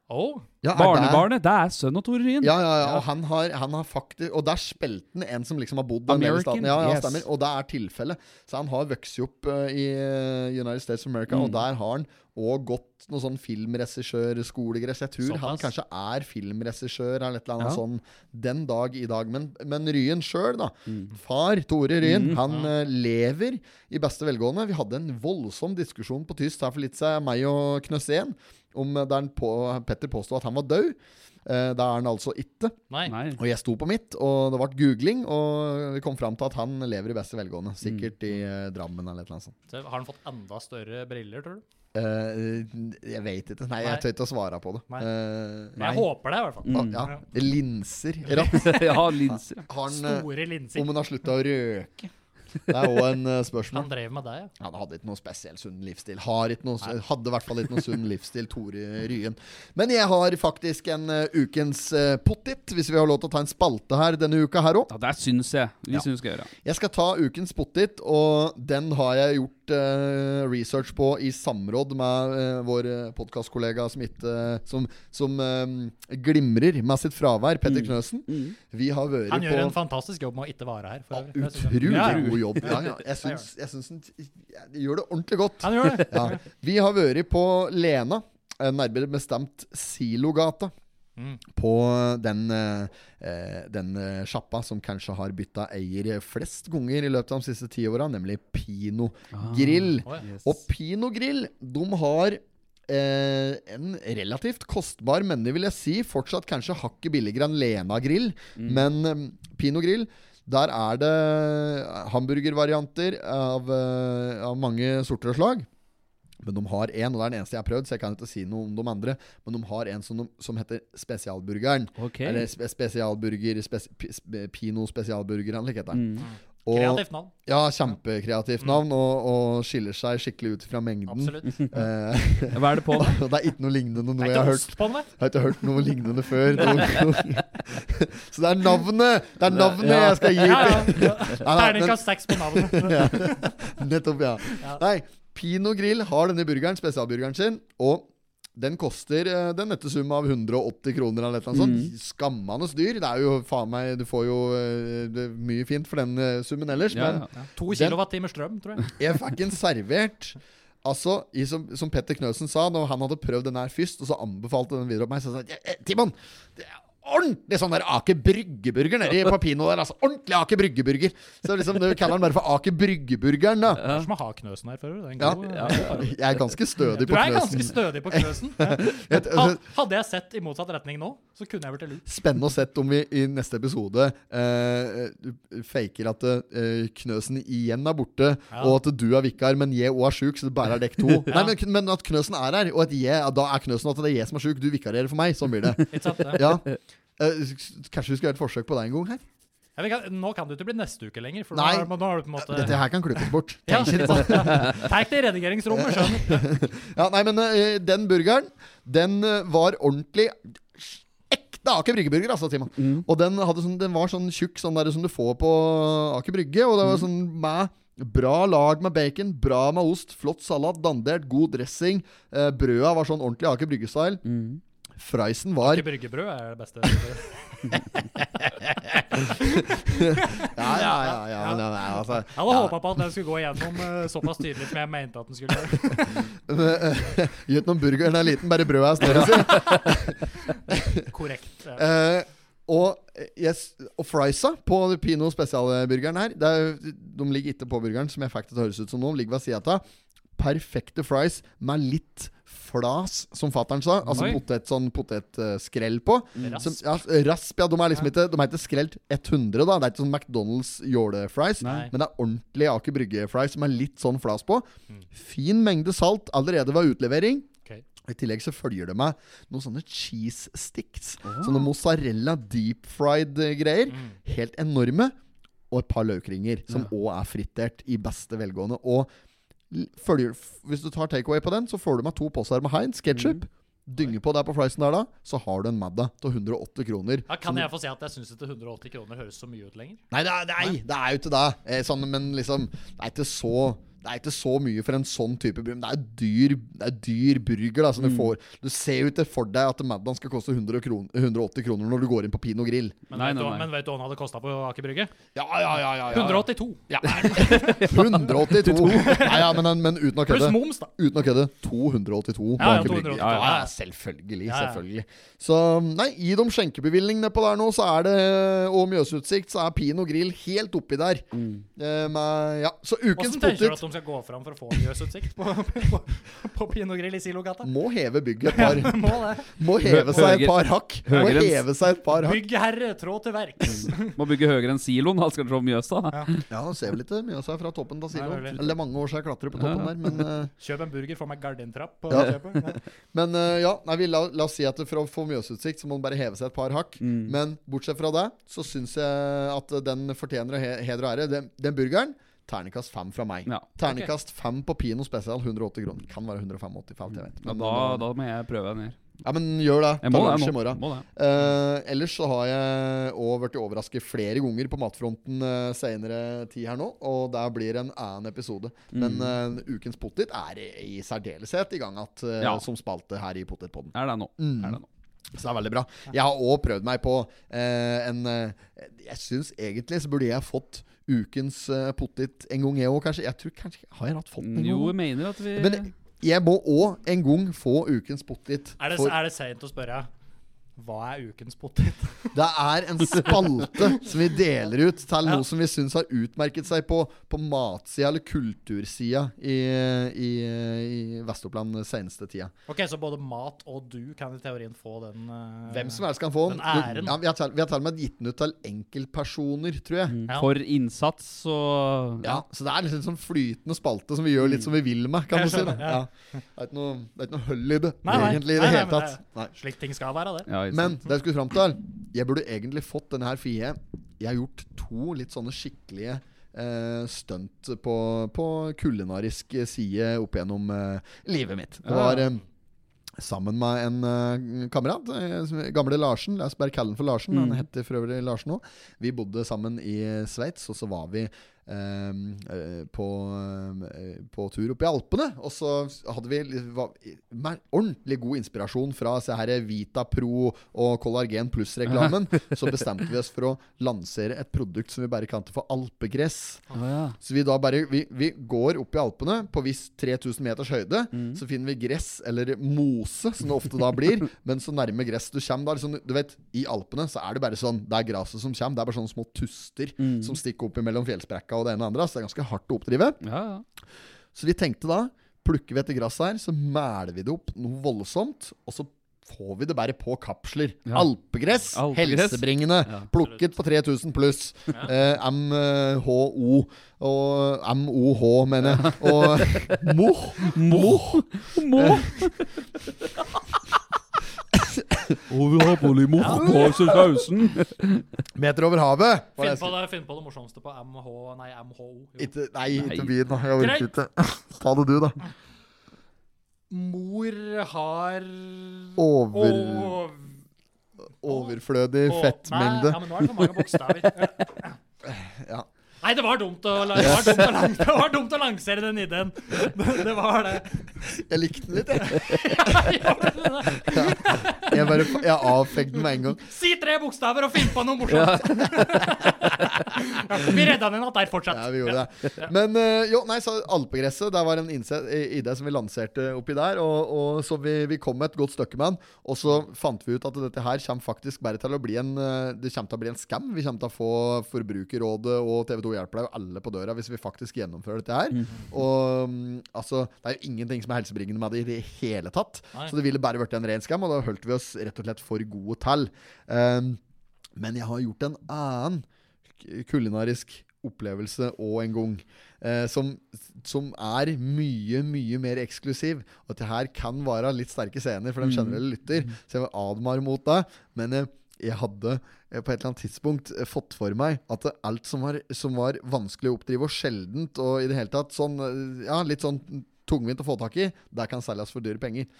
S1: Oh.
S3: ja, er det-
S4: Barnebarnet. Det er sønn av Tore Ryen.
S3: Ja, ja, ja. Og han har, han har faktisk Og der spilte han en som liksom har bodd der nede i
S4: American,
S3: staten. Ja, ja,
S4: yes.
S3: stemmer. Og det er tilfellet. Så han har vokst opp eh, i eh, United States of America,
S4: Mm.
S3: og der har han òg gått noe sånn filmregissørskolegreier. Så jeg tror han
S1: Såpass.
S3: kanskje er filmregissør eller et eller annet
S4: Ja.
S3: sånn den dag i dag. Men, men Ryen sjøl, da.
S4: Mm.
S3: Far Tore Ryen, han eh, lever i beste velgående. Vi hadde en voldsom diskusjon på tysk her for litt siden, meg og Knøsén, om eh, der han på, Petter påsto at han var død. Eh, det er han altså ikke.
S1: Nei.
S4: Nei.
S3: Og jeg sto på mitt, og det ble googling, og vi kom fram til at han lever i beste velgående.
S1: Mm.
S3: Sikkert i eh, Drammen eller et eller annet sånt.
S1: Så har han fått enda større briller, tror du?
S3: Eh, jeg vet ikke. Nei,
S1: Nei.
S3: jeg tør ikke å svare på det.
S1: Nei.
S3: Eh,
S1: Men jeg håper Mm. det, i hvert fall.
S3: ah, ja. Linser.
S1: *laughs*
S3: Ratt.
S4: *laughs* ja, linser. ja.
S3: Har han, eh,
S1: Store linser.
S3: om han har slutta å røke? Det er òg en eh, spørsmål.
S1: Han drev med det, ja.
S3: Han hadde ikke noe spesiell sunn livsstil. Har ikke noe, hadde i hvert fall ikke noe sunn livsstil, Tore Ryen. Men jeg har faktisk en eh, ukens uh, pottit, hvis vi har lov til å ta en spalte her denne uka her òg.
S4: Ja, det syns jeg vi
S3: Ja.
S4: syns skal gjøre.
S3: Jeg skal ta ukens pottit, og den har jeg gjort gjort eh, research på i samråd med eh, vår eh, podkastkollega som, ikke- som, som eh, glimrer med sitt fravær, Petter Knøsen. Vi har vært
S1: Han gjør
S3: på
S1: en fantastisk jobb med å ikke være her. for øvrig. Det synes jeg.
S3: utrolig
S1: Ja,
S3: god jobb. Ja, ja. Jeg syns, jeg syns han t- gjør det ordentlig godt.
S1: Han gjør det.
S3: Ja. Vi har vært på Lena, eh, nærmere bestemt Silogata.
S1: Mm.
S3: På den, eh, eh, den eh, sjappa som kanskje har bytta eier flest ganger i løpet av de siste ti åra, nemlig Pino Grill.
S1: Å, ja.
S3: Og Pino Grill, de har eh, en relativt kostbar, men det vil jeg si fortsatt kanskje hakket billigere enn Lena Grill.
S4: Mm.
S3: Men eh, Pino Grill, der er det hamburgervarianter av, eh, av mange sorter og slag. Men de har en, og det er den eneste jeg har prøvd, så jeg kan ikke si noe om de andre. Men de har en som, de, som heter Spesialburgeren.
S4: Ok.
S3: Eller spe spesialburger, spes pi- spe Pino spesialburger, eller hva heter den.
S4: Mm.
S3: Og-
S1: Kreativt navn.
S3: ja, kjempekreativt navn, og, og skiller seg skikkelig ut fra mengden.
S1: Absolutt. Det
S3: Eh,
S1: *laughs*
S4: Hva er det på den?
S3: *laughs* og det er ikke noe lignende noe
S1: er
S3: jeg har
S1: ikke
S3: hørt.
S1: ost på den, vet du.
S3: Jeg har ikke hørt noe lignende
S1: *laughs*
S3: før. noen gang. *laughs* Så det er navnet Det er navnet
S4: Ja.
S3: jeg skal gi
S1: Ja,
S3: til
S1: ja.
S3: *laughs* Nei, nei,
S1: Terningkast seks på
S3: *laughs*
S1: navnet.
S3: men- Nettopp, ja.
S1: Ja.
S3: Nei, Pino Grill har denne burgeren, spesialburgeren sin, og den koster eh, den nette sum av 180 kroner eller noe sånt.
S1: Mm.
S3: Skammende dyr. Det er jo faen meg Du får jo eh, det er mye fint for den eh, summen ellers,
S4: Ja,
S3: men
S4: ja.
S1: To kilowattimer strøm, tror jeg.
S3: Jeg fikk en servert Altså, i, som, som Petter Knøsen sa Når han hadde prøvd den her først Og så anbefalte den videre opp meg Så sa han, «Eh, eh, Timon, det er ordentlig sånn der Ake Bryggeburger Nede i Papino der Altså, ordentlig Ake Bryggeburger Så liksom, du kaller den bare for Ake Bryggeburgeren da
S1: Det er som å ha knøsen her, føler du. Det er en
S3: Ja.
S1: god-
S3: Jeg er ganske stødig
S1: Du
S3: på
S1: er ganske
S3: Knøsen altså-
S1: stødig på
S3: *laughs*
S1: knøsen.
S3: Et-
S1: Ha- Hadde jeg sett i motsatt retning nå, så kunne jeg blitt lurt.
S3: Spennende å sett om vi i neste episode eh, faker at eh, Knøsen igjen er borte,
S1: Ja.
S3: og at du er vikar, men jeg òg er sjuk, så det bare er dekk to.
S1: *laughs*
S3: Nei, men, men at Knøsen er her, og at jeg, ja, da er Knøsen at det er jeg som er sjuk, du vikarierer for meg. Sånn blir det.
S1: Ikke sant? Ja. *laughs*
S3: Ja. Eh, s- kanskje vi skal gjøre et forsøk på det en gang her?
S1: Ja, vi kan, nå kan det ikke bli neste uke lenger, for nå
S3: Nei.
S1: er- nå har du på en måte
S3: Dette her kan klippes bort.
S1: Ja,
S3: Tenk ikke
S1: ikke
S3: på
S1: sant? *laughs* Tenk det i redigeringsrommet, skjønner du.
S3: Ja, nei, men eh, den burgeren, den eh, var ordentlig ekte Aker Brygge-burger, altså, Timon. Og den, hadde sånn, den var sånn tjukk sånn der, som du får på Aker Brygge, og det var sånn med Bra lag med bacon, bra med ost, flott salat, dandert, god dressing. Eh, brøda var sånn ordentlig Aker Brygge-style. Friesen var
S1: Ikke bryggebrød er det beste. Altså,
S3: Ja, ja, ja. ja, ja, ja, ja altså. *laughs*
S1: Jeg hadde håpa på at den skulle gå igjennom eh, såpass tydelig som jeg mente at den skulle gjøre.
S3: *laughs* Gjør noen burgeren er liten, bare brødet er større. altså. sier.
S1: Korrekt. eh.
S3: Eh, og, eh, yes, og friesa på Pino spesialburgeren her det er, De ligger ikke på burgeren, som jeg fikk det til å høres ut som nå. de Ligger ved siden av. Perfekte fries med litt flas, som fattern sa. Altså
S1: Oi.
S3: potet, sånn potetskrell på.
S1: Rasp.
S3: Eh, Som, ja, rasp, ja. De er liksom ikke De er ikke skrelt 100, da. Det er ikke sånn McDonald's jålefries.
S1: Nei.
S3: Men det er ordentlig Aker Brygge-fries som er litt sånn flas på. Fin mengde salt allerede ved utlevering.
S1: Mm. Ok.
S3: I tillegg så følger det med noen sånne cheese sticks. Sånne mozzarella deep fried eh, greier.
S1: Mm.
S3: Helt enorme. Og et par løkringer, som òg er fritert i beste velgående. Og l- følger, f- hvis du tar takeaway på den, så får du med to poser med Heinz ketchup. Dynger på der på flysen der, da, så har du en Madda til 108 kroner.
S1: Ja, kan jeg få si at jeg syns ikke 180 kroner høres så mye ut lenger?
S3: Nei, det er, nei, det er jo ikke det. Eh, sånn, men liksom Det er ikke så det er ikke så mye for en sånn type burger. Men det er dyr, det er dyr burger. da som Du får Du ser jo ikke for deg at Maddan skal koste 100 kron, 180 kroner når du går inn på Pino Grill.
S1: Men,
S4: Nei,
S1: vet,
S4: nei,
S1: du,
S4: nei.
S1: men vet du hva den hadde kosta på Aker Brygge?
S3: Ja, ja, ja. ja, ja.
S1: 182.
S3: 182! Nei, ja, men, men uten å
S1: Pluss
S3: kødde.
S1: moms, da.
S3: Uten å kødde. 282
S1: Ja, ja,
S3: bak i brygga.
S1: 282,
S3: Ja, ja,
S1: ja, ja.
S3: selvfølgelig.
S1: Ja, ja.
S3: selvfølgelig Så nei, i de skjenkebevilgningene på der nå, så er det og Mjøsutsikt, så er Pino Grill helt oppi der. Eh, med, ja. Så ukens
S1: Hvordan tenker du
S3: potet
S1: at de skal gå fram for å få Mjøsutsikt på, på, på Pinot Grill i Silogata?
S3: må heve
S1: *laughs*
S3: bygget et par
S1: Må det.
S3: Må heve seg et
S4: Høger-
S3: par hakk. Må
S4: Høgerens.
S3: heve seg et par hakk.
S1: Bygg herre, trå til verks.
S4: Må bygge høyere enn siloen, da skal du se Mjøsa.
S3: Ja, han ser vel ikke mye av seg fra toppen, da, sier
S1: Nei,
S3: han.
S1: veldig.
S3: Eller mange år siden jeg klatrer på toppen der, men eh,
S1: Kjøp en burger, få meg gardintrapp. På
S3: Ja.
S1: kjøpet. Ja.
S3: *laughs* Men eh, ja, nei, vi la, la oss si at for å få Mjøsutsikt så må man bare heve seg et par hakk.
S4: Mm.
S3: Men bortsett fra det, så syns jeg at den fortjener å he heder og ære. Den, den burgeren, terningkast fem fra meg.
S4: Ja.
S3: Terningkast fem på Pino spesial, 180 kroner. Kan være 185, jeg vet.
S4: Ja,
S3: Men,
S4: da,
S3: eh,
S4: da må jeg prøve en her.
S3: Ja, men gjør det.
S4: Jeg
S3: Ta
S4: må det,
S3: lunsj
S4: jeg
S3: i
S4: må,
S3: morgen.
S4: må det.
S3: Eh, ellers så har jeg òg blitt overrasket flere ganger på matfronten uh, senere tid her nå, og der blir en annen episode. Men eh, ukens potet er i, i særdeleshet i gang igjen
S4: Mm. Ja.
S3: som spalte her i Potetpodden.
S4: Er det nå?
S3: Mm.
S4: Er det nå?
S3: Så det er veldig bra. Jeg har òg prøvd meg på eh, en eh, Jeg syns egentlig så burde jeg fått ukens eh, potet en gang, jeg òg, kanskje. Jeg tror kanskje Har jeg hatt fått den en
S4: Jo, jeg
S3: gang?
S4: mener at vi
S3: Men jeg må òg en gang få ukens potet.
S1: Er det,
S3: for-
S1: er det sent å spørre? Hva er ukens potet? *laughs*
S3: Det er en spalte som vi deler ut til noe som vi syns har utmerket seg på, på matsida eller kultursida i, i, i Vest-Oppland den seneste tida.
S1: Ok, Så både mat og du kan i teorien få den eh,
S3: Hvem som helst kan få den.
S1: Den æren.
S3: Ja, vi har til- vi har til og med gitt den ut til enkeltpersoner, tror jeg.
S1: Ja.
S4: For innsats og
S3: Ja, Så det er liksom sånn flytende spalte som vi gjør litt som vi vil med, kan
S1: Mm. Jeg
S3: du si. da.
S1: skjønner, ja.
S3: Ja. Det er ikke noe, det er ikke noe hull i det,
S1: Nei, nei.
S3: egentlig, i
S1: Nei,
S3: det
S1: nei,
S3: hele
S1: men
S3: tatt. Nei.
S1: Slik ting skal være, det.
S4: Ja, ikke
S3: Men
S4: sant.
S3: det jeg skulle fram til Jeg burde egentlig fått denne her for jeg, jeg har gjort to litt sånne skikkelige eh, stunt på, på kulinarisk eh, side opp gjennom eh, livet mitt. Det var eh, sammen med en eh, kamerat, eh, som- gamle Larsen. La oss bare kalle han for Larsen.
S4: Mm.
S3: Han heter for øvrig Larsen òg. Vi bodde sammen i Sveits, og så var vi ehm, eh, på, eh, på tur opp i Alpene. Og så hadde vi li- var, mer, ordentlig god inspirasjon fra se her Vita Pro og Kollagen Pluss-reklamen. Så bestemte vi oss for å lansere et produkt som vi bare kalte for alpegress.
S4: Å, ja.
S3: Så vi da bare Vi, vi går opp i Alpene på viss 3000 meters høyde. Så finner vi gress, eller mose, som det ofte da blir. men så nærme gress du kommer da liksom, Du vet, i Alpene så er det bare sånn Det er gresset som kommer. Det er bare sånne små tuster som stikker opp mellom fjellsprekka og det ene og det andre. Så det er ganske hardt å oppdrive.
S4: Ja, ja.
S3: Så vi tenkte da Plukker vi etter gresset her, så mæler vi det opp noe voldsomt. Og så får vi det bare på kapsler.
S4: Ja.
S3: Alpegress,
S4: Alpegress.
S3: helsebringende.
S4: Ja.
S3: Plukket på 3000 pluss. *laughs* Eh, MHO. Og MOH, mener jeg. Og
S4: *laughs*
S3: Moh.
S4: Må! Må! Og vi har polymorf på sausen.
S3: Meter over havet.
S1: Finn
S3: var det jeg
S1: på det, finn på det morsomste på MH... Nei, MHO.
S3: skrev.
S1: Jo.
S3: Ikke, nei, ikke
S4: Nei.
S3: byen, da. Jeg orker ikke. *laughs* Ta det du, da.
S1: Mor har
S3: Over,
S1: Over...
S3: overflødig fettmengde.
S1: Nei, ja, men nå er det for mange
S3: *laughs*
S1: bokstaver.
S3: Ja.
S1: Nei, det var dumt å, la- det var dumt å, lang, det var dumt å lansere den ideen. Det, det var det. *laughs*
S3: Jeg likte den litt, jeg. *laughs*
S1: Ja.
S3: Jeg, bare, jeg avfegde den med en gang.
S1: Si tre bokstaver og finn på noe morsomt! *laughs* Vi redda den igjen der, fortsatt.
S3: Ja, vi gjorde det. Men eh, jo, nei, så alpegresset, der var en innse- i- idé som vi lanserte oppi der. Og, og så vi, vi kom et godt stykke med den. Og så fant vi ut at dette her kommer faktisk bare til å bli en eh, Det kommer til å bli en skam. Vi kommer til å få Forbrukerrådet og TV2 hjelper deg og alle på døra hvis vi faktisk gjennomfører dette her. Og mm, altså, det er jo ingenting som er helsebringende med det i det hele tatt.
S1: Nei.
S3: Så det ville bare vært en ren skam, og da holdt vi oss rett og slett for gode til. Um, men jeg har gjort en annen k- kulinarisk opplevelse og en gang, eh, som, som er mye, mye mer eksklusiv. Og dette her kan være litt sterke scener for den generelle lytter, så jeg vil advare mot det. Men eh, jeg hadde eh, på et eller annet tidspunkt eh, fått for meg at det- alt som var, som var vanskelig å oppdrive og sjeldent, og i det hele tatt sånn, eh, ja, litt sånn tungvint å få tak i, det kan selges for dyre penger.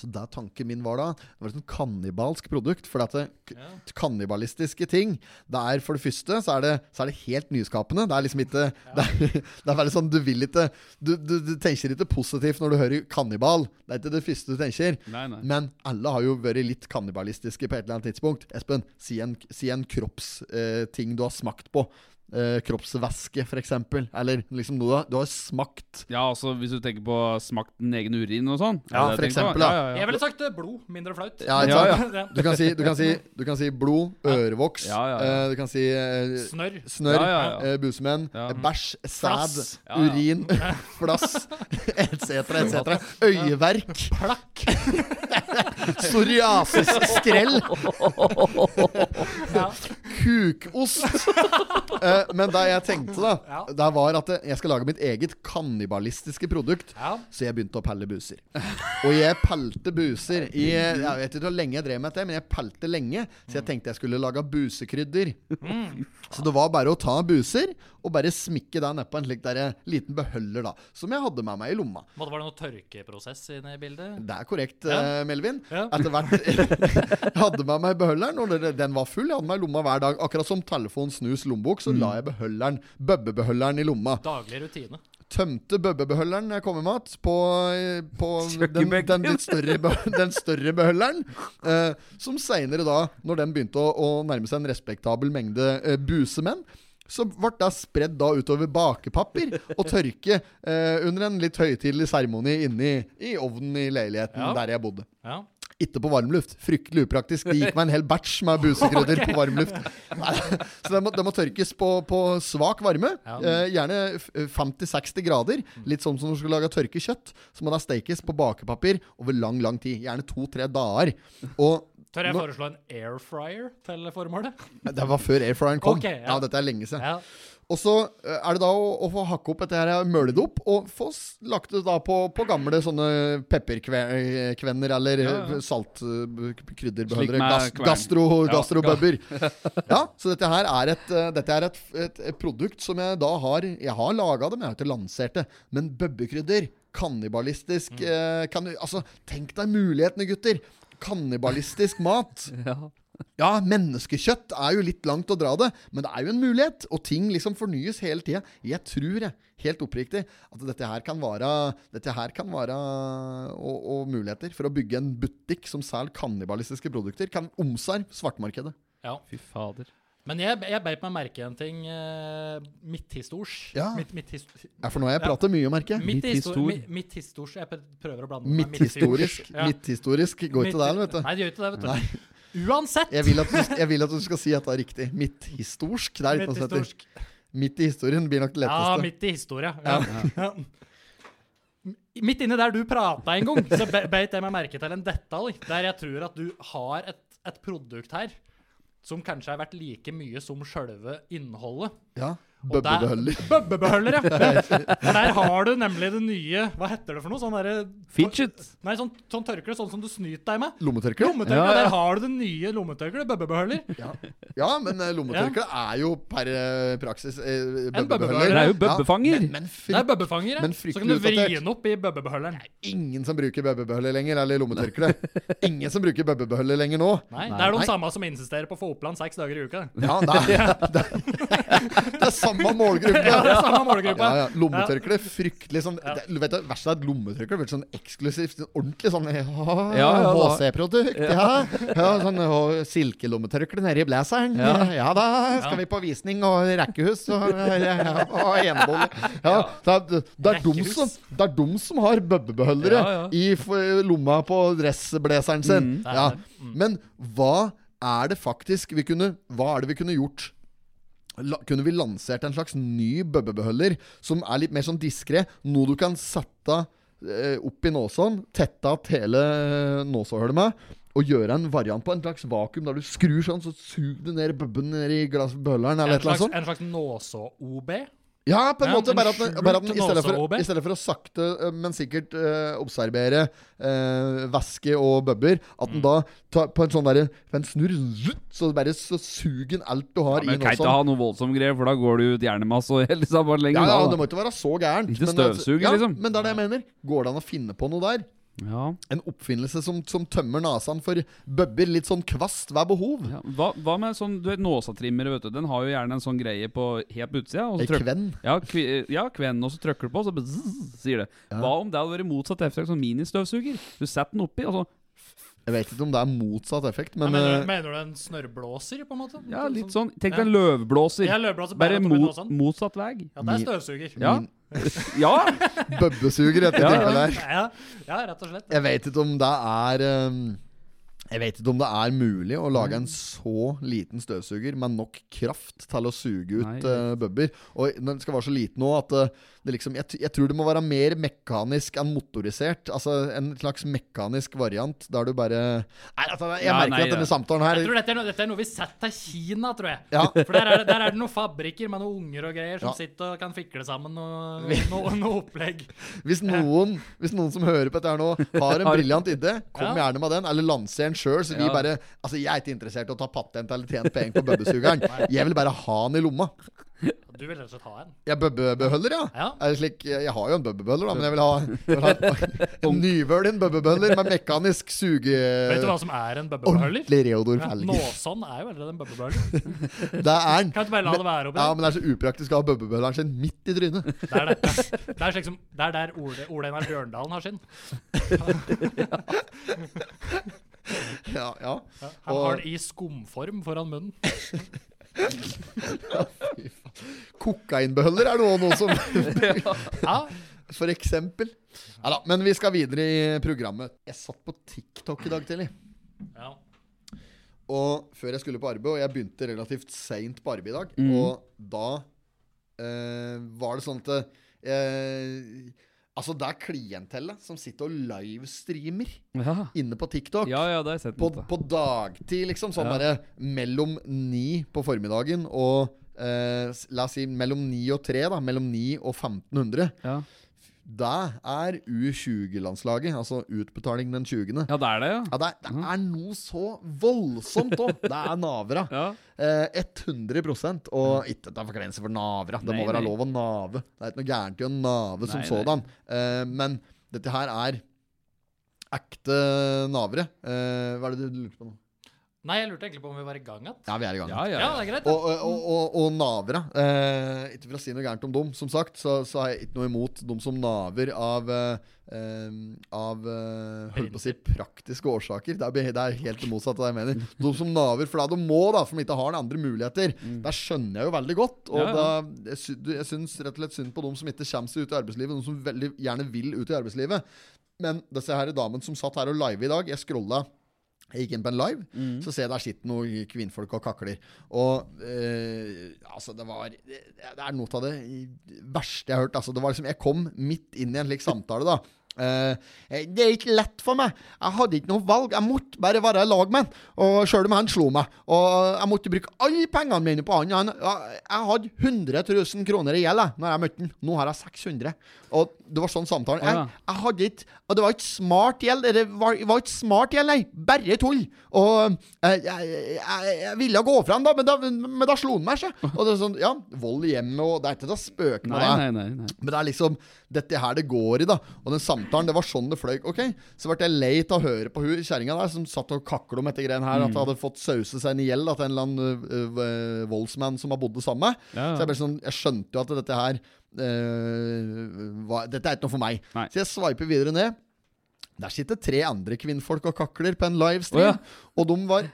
S3: Så der tanken min var da, det var et sånn kannibalsk produkt. For at det, k- kannibalistiske ting Det er for det første så er det, så er det helt nyskapende. Det er liksom ikke det, er, *laughs* det er veldig sånn Du vil ikke du, du, du tenker ikke positivt når du hører kannibal. Det er ikke det første du tenker.
S4: *laughs* Nei, nei.
S3: Men alle har jo vært litt kannibalistiske på et eller annet tidspunkt. Espen, si en, si en kroppsting ting du har smakt på. Eh, kroppsvæske, for eksempel. Eller liksom noe du har, du har smakt.
S4: Ja, altså Hvis du tenker på smakt den egen urin og sånn?
S3: Ja,
S4: Er det
S3: for
S4: det jeg tenker på?
S3: eksempel, da.
S4: Ja, ja,
S1: Jeg ville sagt eh, blod. Mindre flaut.
S3: Ja, ikke
S4: Ja,
S1: *laughs*
S3: sant?
S4: ja.
S3: Du kan si, du kan si, du kan si blod, ørevoks,
S4: Ja, ja, ja.
S3: eh, du kan si eh,
S1: Snørr.
S3: snørr,
S4: Ja, ja, ja.
S3: eh, busemenn,
S4: Ja.
S3: eh, bæsj, sæd,
S1: Flass.
S4: Ja, ja. *laughs*
S3: urin, flass, etc., etc. Øyeverk, *laughs*
S1: Plakk.
S3: psoriasis, skrell.
S1: Ja. *laughs*
S3: kukost. Eh, Men det jeg tenkte, da,
S1: Ja.
S3: det var at jeg skal lage mitt eget kannibalistiske produkt.
S1: Ja.
S3: Så jeg begynte å pelle buser. Og jeg pelte buser i Jeg vet ikke hvor lenge jeg drev med dette, men jeg pelte lenge. Så
S1: Mm.
S3: jeg tenkte jeg skulle lage busekrydder. Så det var bare å ta buser og bare smikke deg nedpå en slik der eh, liten beholder, da. Som jeg hadde med meg i lomma.
S1: Måtte, var det noe tørkeprosess inne i bildet?
S3: Det er korrekt,
S1: Ja.
S3: eh, Melvin.
S1: Ja.
S3: Etter hvert *laughs* Jeg hadde med meg beholderen, og det- den var full. Jeg hadde meg i lomma hver dag. Akkurat som telefon, snus, lommebok, så
S1: Mm.
S3: la jeg beholderen, bøbbebeholderen i lomma.
S1: Daglig rutine.
S3: Tømte bøbbebeholderen jeg kom i mat, på, på den,
S4: Kjøkkenbenken.
S3: den litt større, be- *laughs* den større beholderen. Eh, som seinere, da, når den begynte å, å nærme seg en respektabel mengde eh, busemenn, så ble det spredd da utover bakepapir og tørke eh, under en litt høytidelig seremoni inne i, i ovnen i leiligheten
S1: Ja.
S3: der jeg bodde.
S1: Ja.
S3: Ikke på varmluft. Fryktelig upraktisk. Det gikk meg en hel batch med busekrydder på varmluft. Nei, Så det må, det må tørkes på, på svak varme.
S1: Ja.
S3: Eh, gjerne f- 50-60 grader. Litt sånn som når du skal lage tørkekjøtt. Så må det stekes på bakepapir over lang, lang tid. Gjerne to-tre dager. Og
S1: Tør jeg
S3: Nå-
S1: foreslå en air fryer til formålet?
S3: det var før airfryeren kom.
S1: Ok, ja.
S3: ja. dette er lenge siden.
S1: Ja.
S3: Og så eh, er det da å, å få hakke opp dette her, møle det opp, og få s- lagt det da på, på gamle sånne pepperkvenner eller eh,
S4: Ja, ja. Slik
S3: saltkrydderbeholdere.
S4: med
S3: Gas,
S4: kvern.
S3: gastro,
S4: Ja. *laughs*
S3: gastrobubber. ja, så dette her er et, eh, dette er et, et, et produkt som jeg da har Jeg har laga det, men jeg har ikke lansert det. Men bøbbekrydder, kannibalistisk
S4: Mm.
S3: eh, kan, Altså, tenk deg mulighetene, gutter! Kannibalistisk mat. Ja, menneskekjøtt er jo litt langt å dra det, men det er jo en mulighet, og ting liksom fornyes hele tida. Jeg tror, jeg, helt oppriktig, at dette her kan være, dette her kan være og, og muligheter for å bygge en butikk som selger kannibalistiske produkter, kan omsarve svartmarkedet.
S1: ja.
S4: Fy fader.
S1: Men jeg, jeg beit meg merke i en ting eh, midthistors.
S3: Ja.
S1: Midt, midthis-
S3: Ja, for nå har jeg pratet mye, merker jeg.
S1: midt,
S4: Midthistor.
S1: histor, midt histors. Jeg prøver å blande meg.
S3: Midthistorisk.
S1: Ja.
S3: Midthistorisk går ikke der, vet du.
S1: Nei, det gjør ikke det, vet du. Uansett!
S3: Jeg vil, at du, jeg vil at du skal si at det er riktig. Midthistorsk. Det er ikke noe som heter.
S1: Midthistorsk.
S3: Midt i historien blir nok det
S1: Ja,
S3: letteste.
S1: midt i historia. Ja. *laughs* Midt inni der du prata en gang, så be- beit jeg meg merke til en detalj der jeg tror at du har et, et produkt her som kanskje har vært like mye som sjølve innholdet.
S3: Ja,
S1: Og der-
S3: Bøbbebeholder.
S1: Bøbbebeholder,
S4: *laughs*
S1: ja. For der har du nemlig det nye Hva heter det for noe? Sånn derre
S4: Fidget.
S1: Nei, sånn, sånn tørkle, sånn som du snyter deg med.
S3: Lommetørkle.
S1: Lommetørkle.
S4: Ja, ja.
S1: Der har du det nye lommetørkleet. Bøbbebeholder.
S3: Ja, ja men eh, lommetørkle er jo per eh, praksis eh,
S1: bøbbebeholder.
S3: bøbbebeholder.
S4: Det er jo
S3: Ja,
S4: bøbbefanger.
S3: men
S1: Det er
S3: frykt,
S1: bøbbefanger, ja.
S3: Men
S1: Så kan du
S3: fryktelig
S1: vri
S3: utdatert.
S1: den opp i bøbbebeholderen.
S3: ingen som bruker bøbbebeholder lenger, eller lommetørkle. Ingen som bruker bøbbebeholder lenger nå.
S1: Nei,
S4: Nei.
S1: det er de
S3: Nei.
S1: samme som insisterer på å få Oppland seks dager i uka.
S3: Ja, det er, det er, det er samme målgruppe.
S1: Ja, det er samme
S3: Ja,
S1: målgruppa.
S3: ja. Lommetørkle, fryktelig sånn det, vet du, Verst er at lommetørkle blir sånn eksklusivt. sånn Ordentlig sånn ja,
S4: Ja, ja, da.
S3: HC-produkt, ja. ja. Sånn å, silkelommetørkle nede i blazeren. Ja. da skal vi på visning og rekkehus og, ja, og enebolig. Ja, det, er- det, er de
S1: Rekkehus.
S3: som, det er de som har bøbbebeholdere
S4: Ja, ja.
S3: i f- lomma på dressblazeren sin.
S1: Mm.
S3: Ja. Men hva er det faktisk vi kunne Hva er det vi kunne gjort la, kunne vi lansert en slags ny bøbbebeholder som er litt mer sånn diskré. Noe du kan sette eh, opp i nåsåen, tette att hele nåsåhullet med, og gjøre en variant på en slags vakuum der du skrur sånn, så suger du ned bøbben ned i glassbølleren
S1: En
S3: eller et eller annet
S1: slags,
S3: sånt.
S1: en slags Nåså-OB.
S3: Ja, på en
S1: Ja,
S3: måte.
S1: en
S3: Bare at, den-
S1: skjult
S3: bare at den, i, stedet for,
S1: nåse-OB.
S3: i stedet for å sakte, eh, men sikkert eh, observere eh, væske og bøbber, at
S4: Mm.
S3: den da tar, på en sånn derre på En snurr, zutt, så bare så suger den alt du
S4: Ja,
S3: har
S4: men
S3: i
S4: kan ikke
S3: nåsåen.
S4: ha noe voldsomme greier, for da går du ut hjernemasse og hele sammen lenger.
S3: Ja, ja, det
S4: da,
S3: må ikke være så gærent.
S4: Ikke
S3: men-
S4: støvsuger,
S3: ja,
S4: liksom.
S3: Men det er det jeg mener. Går det an å finne på noe der?
S4: da. ja.
S3: En oppfinnelse som, som tømmer nasaen for bøbber, litt sånn kvast ved behov?
S4: Ja. Hva, hva med sånn du vet, nåsatrimmere, vet du. Den har jo gjerne en sånn greie på helt på utsida. Og
S3: Ei
S4: så trykker
S3: kvenn.
S4: ja, kvi, ja, kvenn, og så trykker du på, og så bare zzz, sier det. Hva om det hadde vært motsatt effekt, sånn ministøvsuger? Du setter den oppi, og så
S3: Jeg vet ikke om det er motsatt effekt, men
S1: mener,
S3: eh,
S1: du- mener du en snørrblåser, på en måte?
S4: Ja, sånn litt sånn. Tenk
S1: Ja.
S4: deg en løvblåser.
S1: Ja, løvblåser
S4: Bare
S1: bare
S4: mot,
S1: mot
S4: motsatt *laughs* vei.
S1: sånn. Ja, det er støvsuger. *laughs*
S4: Ja. ja.
S3: bøbbesuger etter
S4: Ja, ja.
S3: tilfellet her.
S1: Ja, ja, rett og slett.
S3: Jeg vet ikke om det er um, Jeg vet ikke om det er mulig å lage en så liten støvsuger med nok kraft til å suge ut
S4: Nei, jeg
S3: eh, bøbber. Og den skal være så liten nå at eh, det liksom jeg, t- jeg tror det må være mer mekanisk enn motorisert. Altså en slags mekanisk variant der du bare Nei, altså, jeg
S4: Ja,
S3: merker
S4: nei,
S3: at denne
S4: ja.
S3: samtalen
S1: Jeg
S3: her
S1: tror dette er, noe, dette er noe vi setter til Kina, tror jeg.
S3: Ja.
S1: For der er, det- der er det noen fabrikker med noen unger og greier som
S3: Ja.
S1: sitter og kan fikle sammen noe, noe, noe opplegg.
S3: Hvis noen, hvis noen som hører på dette her nå, har en
S4: Har-
S3: briljant idé, kom
S1: Ja.
S3: gjerne med den. Eller lanser den sjøl. Så vi
S4: Ja.
S3: bare Altså, jeg er ikke interessert i å ta patent eller tjene penger på bøbbesugeren. Jeg vil bare ha den i lomma.
S1: Du vil rett og slett ha en.
S3: Ja, bøbbebøller, ja.
S1: Ja.
S3: Er det slik, jeg har jo en bøbbebøller, da, men jeg vil ha, jeg
S1: *laughs*
S3: vil ha en nyvølen bøbbebøller med mekanisk suge...
S1: Vet du hva som er en bøbbebøller?
S3: Eh, Ordentlig Reodor
S1: Ja,
S3: Felger.
S1: Nåsånn er jo allerede en bøbbebøller.
S3: Det er den.
S1: Kan du bare la det være oppi
S3: Ja,
S1: der?
S3: men det er så upraktisk å ha bøbbebølleren sin midt i trynet.
S1: Det er, det. Det er, slik som, det er der Ole, Ole Einar Bjørndalen har sin.
S3: Ja, ja.
S1: Han
S3: Og-
S1: har den i skumform foran munnen.
S3: Kokainbøller er det også noe som
S1: *laughs* Ja,
S3: For eksempel. Ja da, men vi skal videre i programmet. Jeg satt på TikTok i dag tidlig.
S1: ja.
S3: Og før jeg skulle på arbeid, og jeg begynte relativt seint på arbeid i dag,
S4: Mhm.
S3: og da eh, var det sånn at eh, Altså, det er klientellet som sitter og livestreamer
S4: Ja,
S3: inne på TikTok.
S4: ja, ja det har jeg sett.
S3: På,
S4: litt, da.
S3: på dagtid, liksom. Sånn
S4: Ja.
S3: derre mellom ni på formiddagen og eh, s- La oss si mellom ni og tre, da. Mellom ni og 1500.
S4: ja.
S3: Det er U20-landslaget. Altså utbetaling den 20.
S4: ja, det er det, ja.
S3: Ja, det er, det
S4: Mhm.
S3: er noe så voldsomt òg! Det er navra.
S4: ja.
S3: Eh, 100 Og ikke at det er forkleinelse for navra.
S4: Mhm.
S3: Det
S4: Nei,
S3: må være
S4: nei.
S3: lov å nave. Det er ikke noe gærent i å nave som
S4: Nei, nei.
S3: sådan. Eh, men dette her er ekte navre. Eh, hva er det du lurer på nå?
S1: Nei, jeg lurte egentlig på om vi var i gang igjen.
S3: Ja, vi er i gang.
S4: Ja, ja,
S1: Ja,
S4: ja.
S1: det er greit.
S3: Og,
S1: da.
S3: og, og, og, og navra. Eh, ikke for å si noe gærent om dem, som sagt, så, så har jeg ikke noe imot dem som naver av eh, eh, Av eh, holdt på å si praktiske årsaker. Det er, be- det er helt det motsatte av det jeg mener. De som naver fordi de må, da, for de ikke har andre muligheter. Det skjønner jeg jo veldig godt. Og
S4: Mm. Ja, ja.
S3: da- jeg, sy du- jeg syns rett og slett synd på dem som ikke kommer seg ut i arbeidslivet, de som veldig gjerne vil ut i arbeidslivet. Men disse her damene som satt her og live i dag, jeg scrolla jeg gikk inn på en live,
S4: Mm.
S3: så ser jeg der sitter noen kvinnfolk og kakler. Og eh, altså, det var Det det er noe av det verste jeg har hørt. Altså, det var liksom Jeg kom midt inn i en slik samtale, da. Eh, det er ikke lett for meg. Jeg hadde ikke noe valg. Jeg måtte bare være i lag med han. Og sjøl om han slo meg. Og jeg måtte bruke alle pengene mine på han. han ja, jeg hadde 100 000 kroner i gjeld jeg, når jeg møtte han. Nå har jeg 600. Og det var sånn samtalen.
S4: Ja.
S3: Jeg, jeg hadde ikke Og det var ikke smart gjeld. Det var, var ikke smart gjeld, nei. Bare tull. Og eh, jeg, jeg, jeg ville gå fra han, da, men da, men da slo han meg, sjø. Og det er sånn, ja, vold i hjemmet, og det er ikke til å spøke med
S4: Nei,
S3: det.
S4: nei, nei. nei.
S3: Men det er liksom dette her det går i, da. Og den samtalen, det var sånn det fløy. Ok, Så ble jeg lei av å høre på hun kjerringa der som satt og kakla om dette greiene her. At hun hadde fått sause seg inn i gjeld da, til en eller annen øh, øh, voldsmann som har bodd det samme.
S4: Ja, ja.
S3: Så jeg ble sånn, jeg skjønte jo at dette her øh, var, Dette er ikke noe for meg.
S4: Nei.
S3: Så jeg sveiper videre ned. Der sitter tre andre kvinnfolk og kakler på en
S4: Å,
S3: livestream.
S4: ja.
S3: Og de var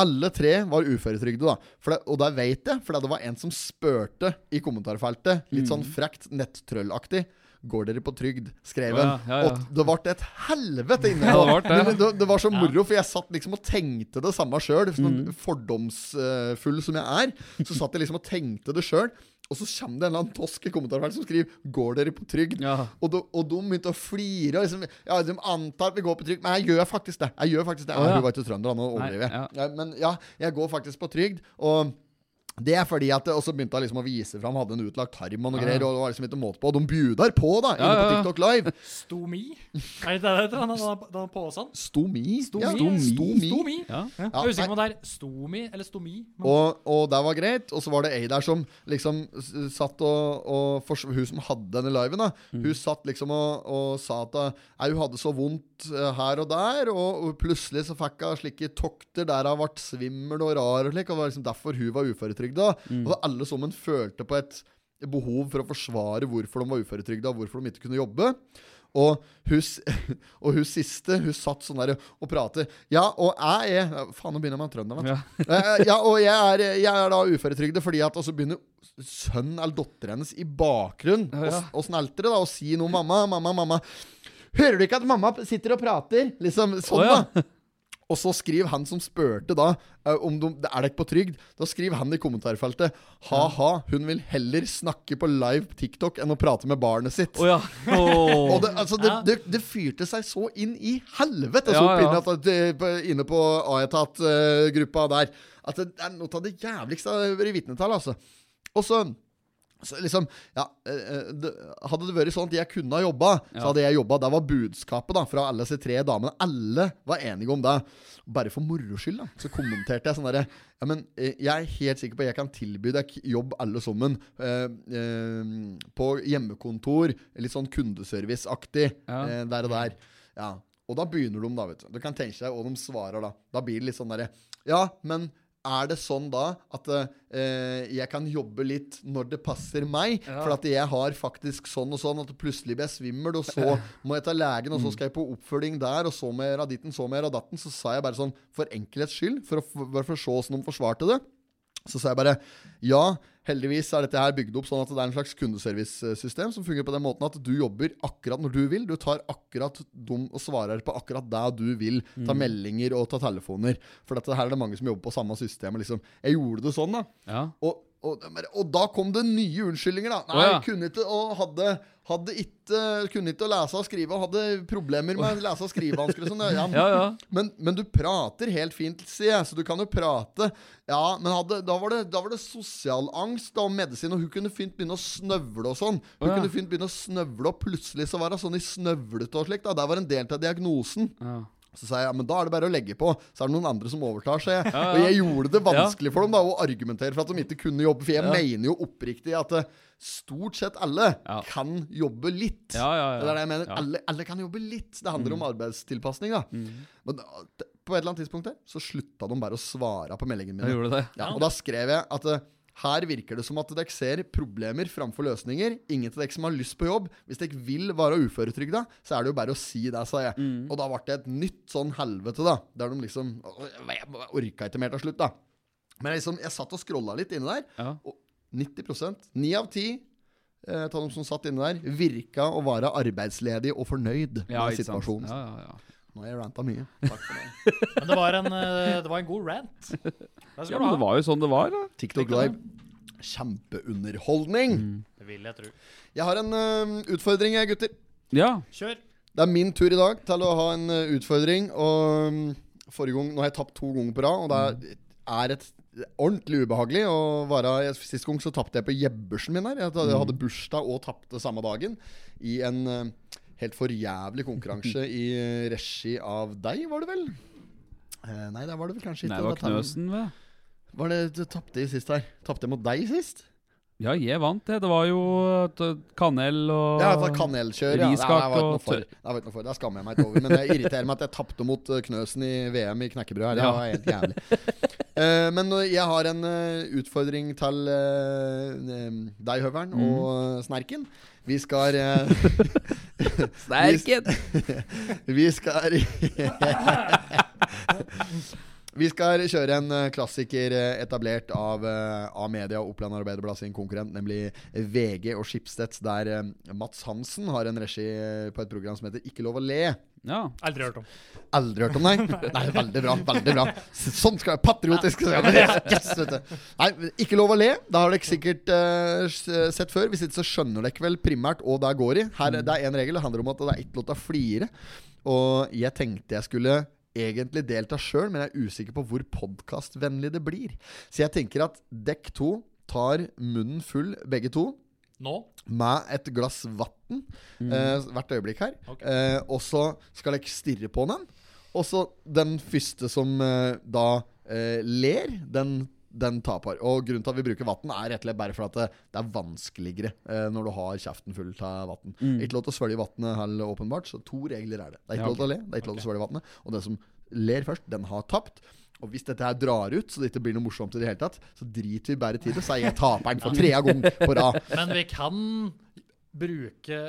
S3: alle tre var uføretrygde, da. For det, og det vet jeg, for det var en som spurte i kommentarfeltet, litt
S4: Mm.
S3: sånn frekt nettrøllaktig. Går dere på trygd?
S4: Å,
S3: skrev
S4: ja,
S3: han.
S4: ja, ja.
S3: Og det ble et helvete inne.
S4: Ja, det ble det.
S3: *laughs* Men det, det var så moro, for jeg satt liksom og tenkte det samme sjøl. Sånn
S4: Mm.
S3: fordomsfull som jeg er, så satt jeg liksom og tenkte det sjøl. Og så kommer det en eller annen tosk i kommentarfeltet som skriver 'Går dere på trygd?'
S4: Ja.
S3: Og, de, og de begynte å flire. Og liksom, ja, de antar at vi går på trygd, men jeg gjør faktisk det. Jeg gjør faktisk det.
S4: Å, ja.
S3: Hun var ikke trønder, da, nå overdriver jeg.
S4: Nei,
S3: Ja, Men ja, jeg går faktisk på trygd. Og det er fordi at Og så begynte jeg liksom å vise fram, hadde en utlagt tarm og noe
S4: Ja.
S3: greier. Og det var liksom ikke måte på. Og de bjudar på, da, inne
S4: Ja, ja, ja.
S3: på TikTok
S4: *laughs*
S3: Live.
S1: Stomi? Er det det det heter? Han har- han har påsen?
S3: Stomi. Ja,
S1: Stomi.
S3: Stomi.
S1: Stomi.
S4: Ja.
S1: Jeg er usikker på om det er stomi eller stomi. Men
S3: Og, og det var greit. Og så var det ei der som liksom s- satt og, og fors- Hun som hadde denne liven, da. Hun satt liksom og, og sa at eh, hun hadde så vondt eh, her og der, og, og plutselig så fikk hun slike tokter der hun ble svimmel og rar og slik. Og det var liksom derfor hun var uføretrygda. Og alle sammen følte på et behov for å forsvare hvorfor de var uføretrygda, og hvorfor de ikke kunne jobbe. Og hun, s- *laughs* og hun siste, hun satt sånn der og pratet. Ja, og jeg er Faen, nå begynner jeg med en trønder, vet du.
S4: Ja.
S3: Eh, ja, og jeg er, jeg er da uføretrygdet fordi at Og så begynner sønnen eller datteren hennes i bakgrunnen
S4: Ja, ja.
S3: å snelte da og si noe. 'Mamma, mamma, mamma.' Hører du ikke at mamma sitter og prater? Liksom sånn,
S4: Å, ja.
S3: da. Og så skriver han som spurte da eh, om de, Er det ikke på trygd? Da skriver han i kommentarfeltet Ha-ha, hun vil heller snakke på live TikTok enn å prate med barnet sitt.
S4: Å ja. Åh.
S3: Og det, altså, det, det, det fyrte seg så inn i helvete så
S4: Ja,
S3: opp
S4: ja.
S3: inne, at, det- på- inne på Aetat-gruppa der at det er noe av det jævligste jeg har vært vitne til. Altså. Og så så liksom, ja, eh, eh, det- Hadde det vært sånn at jeg kunne ha jobba, så
S4: Ja.
S3: hadde jeg jobba. Det var budskapet da fra alle disse tre damene. Alle var enige om det. Bare for moro skyld da så kommenterte jeg sånn derre ja, men eh, Jeg er helt sikker på at jeg kan tilby deg k- jobb alle sammen. eh, eh, på hjemmekontor, litt sånn kundeserviceaktig
S4: Ja.
S3: eh, der og der. Ja og da begynner de, da. vet Du Du kan tenke deg hva de svarer da. Da blir det litt sånn derre Ja, men er det sånn da at eh, jeg kan jobbe litt når det passer meg? For at jeg har faktisk sånn og sånn at plutselig blir jeg svimmel, og så må jeg ta legen, og så skal jeg på oppfølging der, og så må jeg gjøre ditten, så må jeg gjøre datten. Så sa jeg bare sånn, for enkelhets skyld, for å, f- bare for å se åssen de forsvarte det. Så sa jeg bare ja, heldigvis er dette her bygd opp sånn at det er en slags kundeservicesystem som fungerer på den måten at du jobber akkurat når du vil. Du tar akkurat dum og svarer på akkurat det du vil. Ta
S4: Mm.
S3: meldinger og ta telefoner. For dette her er det mange som jobber på samme system. Liksom. Jeg gjorde det sånn, da.
S4: ja.
S3: Og, og, men- og da kom det nye unnskyldninger, da. Nei,
S4: Å, ja.
S3: kunne ikke og hadde hadde ikke, kunne ikke å lese og skrive, og hadde problemer med å lese og skrivevansker. og
S4: *laughs*
S3: Sånn. Ja,
S4: Ja, ja.
S3: men, men du prater helt fint, sier jeg, så du kan jo prate. Ja, men hadde, da, var det, da var det sosial angst da, og medisin, og hun kunne fint begynne å snøvle og sånn. Hun
S4: Å, ja.
S3: kunne fint begynne å snøvle, og plutselig så var hun sånn i snøvlete og slikt. da. Det var en del av diagnosen.
S4: ja.
S3: Så sa jeg ja, men da er det bare å legge på, så er det noen andre som overtar seg. Og jeg gjorde det vanskelig for dem da å argumentere for at de ikke kunne jobbe, for jeg mener jo oppriktig at eh, stort sett alle
S4: Ja.
S3: kan jobbe litt.
S4: Ja, ja, ja.
S3: Det er det jeg mener.
S4: Ja. Mm.
S3: Alle, alle kan jobbe litt. Det handler om arbeidstilpasning, da. Men da- t- på et eller annet tidspunkt der, så slutta de bare å svare på meldingen
S4: Jeg
S3: min.
S4: gjorde det.
S3: Ja, og da skrev jeg at eh, her virker det som at dere ser problemer framfor løsninger. Ingen av dere som har lyst på jobb. Hvis dere vil være uføretrygda, så er det jo bare å si det, sa jeg.
S4: Mm.
S3: Og da ble det et nytt sånn helvete, da. Der de liksom Å, Jeg orka ikke mer til slutt, da. Men jeg liksom, jeg satt og scrolla litt inni der,
S4: Ja.
S3: og 90 ni av ti eh, av dem som satt inne der, virka å være arbeidsledig og fornøyd
S4: Ja,
S3: med
S4: ikke sant.
S3: situasjonen.
S4: Ja, ja, ja.
S3: Nå har jeg ranta mye. Takk for det.
S1: *laughs* Men det var en, eh, det var en god rant. Det
S4: ja,
S1: skal du
S4: men det
S1: ha.
S4: var jo sånn det var, da.
S3: TikTok Live. Kjempeunderholdning.
S4: Mm.
S1: Det vil jeg tro.
S3: Jeg har en ø, utfordring, jeg, gutter.
S4: Ja.
S1: Kjør.
S3: Det er min tur i dag til å ha en ø, utfordring. Og ø, forrige gang Nå har jeg tapt to ganger på rad, og det er, er et ordentlig ubehagelig å være Sist gang så tapte jeg på Jebbersen min her. Jeg hadde-
S4: Mm.
S3: hadde bursdag og tapte samme dagen i en ø, helt forjævlig
S4: *laughs*
S3: konkurranse i ø, regi av deg, var det vel? Eh, nei, der var det vel kanskje ikke.
S4: Nei, det var
S3: Dette er-
S4: Knøsen, det.
S3: Var det du tapte i sist her? Tapte jeg mot deg sist?
S4: Ja, jeg vant, det. Det var jo t- kanel og
S3: Ja, for kanelkjør. Ja. Nei, Det,
S4: Riskake
S3: var
S4: og
S3: ikke noe for.
S4: tørr.
S3: det var ikke noe for. Det skammer jeg meg ikke over. Men jeg irriterer meg at jeg tapte mot eh, Knøsen i VM i knekkebrød. her. Det
S4: Ja.
S3: var helt jævlig. Eh, men eh, jeg har en eh, utfordring til eh, eh, deg, Høveren,
S4: Mm.
S3: og eh, Snerken. Vi skal eh,
S4: Sterken!
S3: Vi skal *laughs* Vi skal kjøre en eh, klassiker eh, etablert av eh, A-media og Oppland Arbeiderblad sin konkurrent, nemlig VG og Schibsted, der eh, Mats Hansen har en regi eh, på et program som heter Ikke lov å le.
S4: Ja.
S1: Aldri hørt om.
S3: Aldri hørt om deg? Nei, veldig bra. veldig bra S- Sånn skal jeg patriotisk skal jeg være. Yes, vet du. Nei, men Ikke lov å le. Det har dere sikkert eh, s- sett før. Hvis ikke så skjønner dere vel primært hva det går i. Her, det er én regel. Det handler om at det er ikke lov til å flire. Og jeg tenkte jeg skulle egentlig delta sjøl, men jeg er usikker på hvor podkastvennlig det blir. Så jeg tenker at dekk to tar munnen full, begge to
S1: Nå?
S3: med et glass vann eh, hvert øyeblikk her.
S1: Ok.
S3: Eh, og så skal jeg stirre på den. Og så den første som eh, da eh, ler, den, den taper. Og grunnen til at vi bruker vann, er rett og slett bare for at det, det er vanskeligere eh, når du har kjeften full av vann. Ikke lov til å svelge vannet heller, åpenbart. Så to regler er det. Det er ikke
S4: Ja,
S3: lov til å le, det er ikke lov til å svelge vannet. Og den som ler først, den har tapt. Og hvis dette her drar ut, så det ikke blir noe morsomt i det hele tatt, så driter vi bare i det, så er jeg taperen for tredje gang på rad.
S1: Men vi kan bruke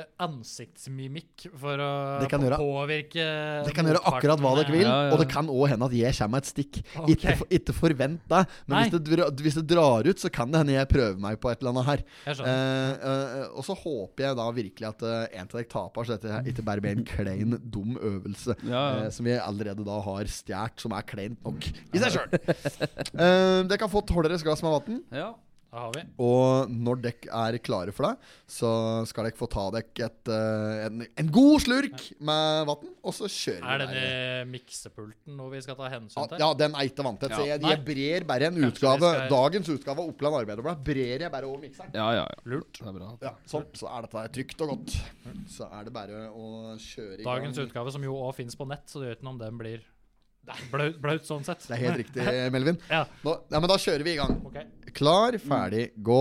S1: ansiktsmimikk for å
S3: Det kan gjøre-
S1: påvirke
S3: Det kan gjøre akkurat hva dere vil,
S4: Ja, ja, ja.
S3: og det kan òg hende at jeg kommer med et stikk.
S1: Ok.
S3: Ikke, for, ikke forvent deg, men
S1: Nei.
S3: hvis det, dra, hvis det drar ut, så kan det hende jeg prøver meg på et eller annet her.
S1: Jeg skjønner.
S3: Eh, eh, og så håper jeg da virkelig at eh, en av dere taper, så dette her ikke bare blir en klein, dum øvelse
S4: Ja, ja.
S3: eh, som vi allerede da har stjålet, som er kleint nok i seg sjøl. *laughs* Eh, dere har fått holderes glass med vann.
S4: Ja.
S1: Da har vi.
S3: Eh, Og når dere er klare for det, så skal dere få ta dere et, eh, en, en god slurk med vann, og så kjører
S1: Er
S3: vi
S1: denne miksepulten noe vi skal ta hensyn til?
S3: Ah, Ja, den er ikke vanntett. Så jeg, jeg
S1: Nei.
S3: brer bare en
S1: Kanskje vi
S3: utgave.
S1: skal-
S3: Dagens utgave av Oppland Arbeiderblad brer jeg bare over mikseren.
S4: Ja, ja, ja.
S1: Lurt.
S4: Det er bra.
S3: Ja, sånn, så er dette trygt og godt. Så er det bare å kjøre i
S1: Dagens
S3: gang.
S1: utgave, som jo òg fins på nett, så det gjør ikke noe om den blir blaut, blaut sånn sett.
S3: Det er helt riktig, Melvin.
S1: Ja,
S3: Nå, ja, men da kjører vi i gang.
S1: ok.
S3: Klar, ferdig, gå.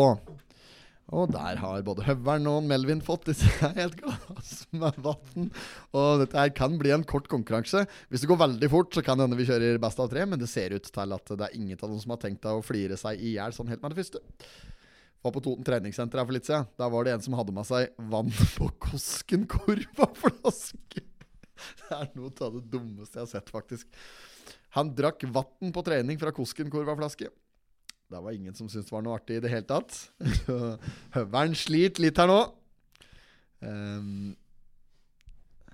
S3: Og der har både Høveren og Melvin fått disse her i et glass med vann. Og dette her kan bli en kort konkurranse. Hvis det går veldig fort, så kan det hende vi kjører best av tre, men det ser ut til at det er ingen av dem som har tenkt å flire seg i hjel sånn helt med det første. Var på Toten treningssenter her for litt siden. Der var det en som hadde med seg vann på Koskenkorv av flaske. Det er noe av det dummeste jeg har sett, faktisk. Han drakk vann på trening fra Koskenkorv av flaske. Det var ingen som syntes det var noe artig i det hele tatt. *laughs* Så Høveren sliter litt her nå. Ehm,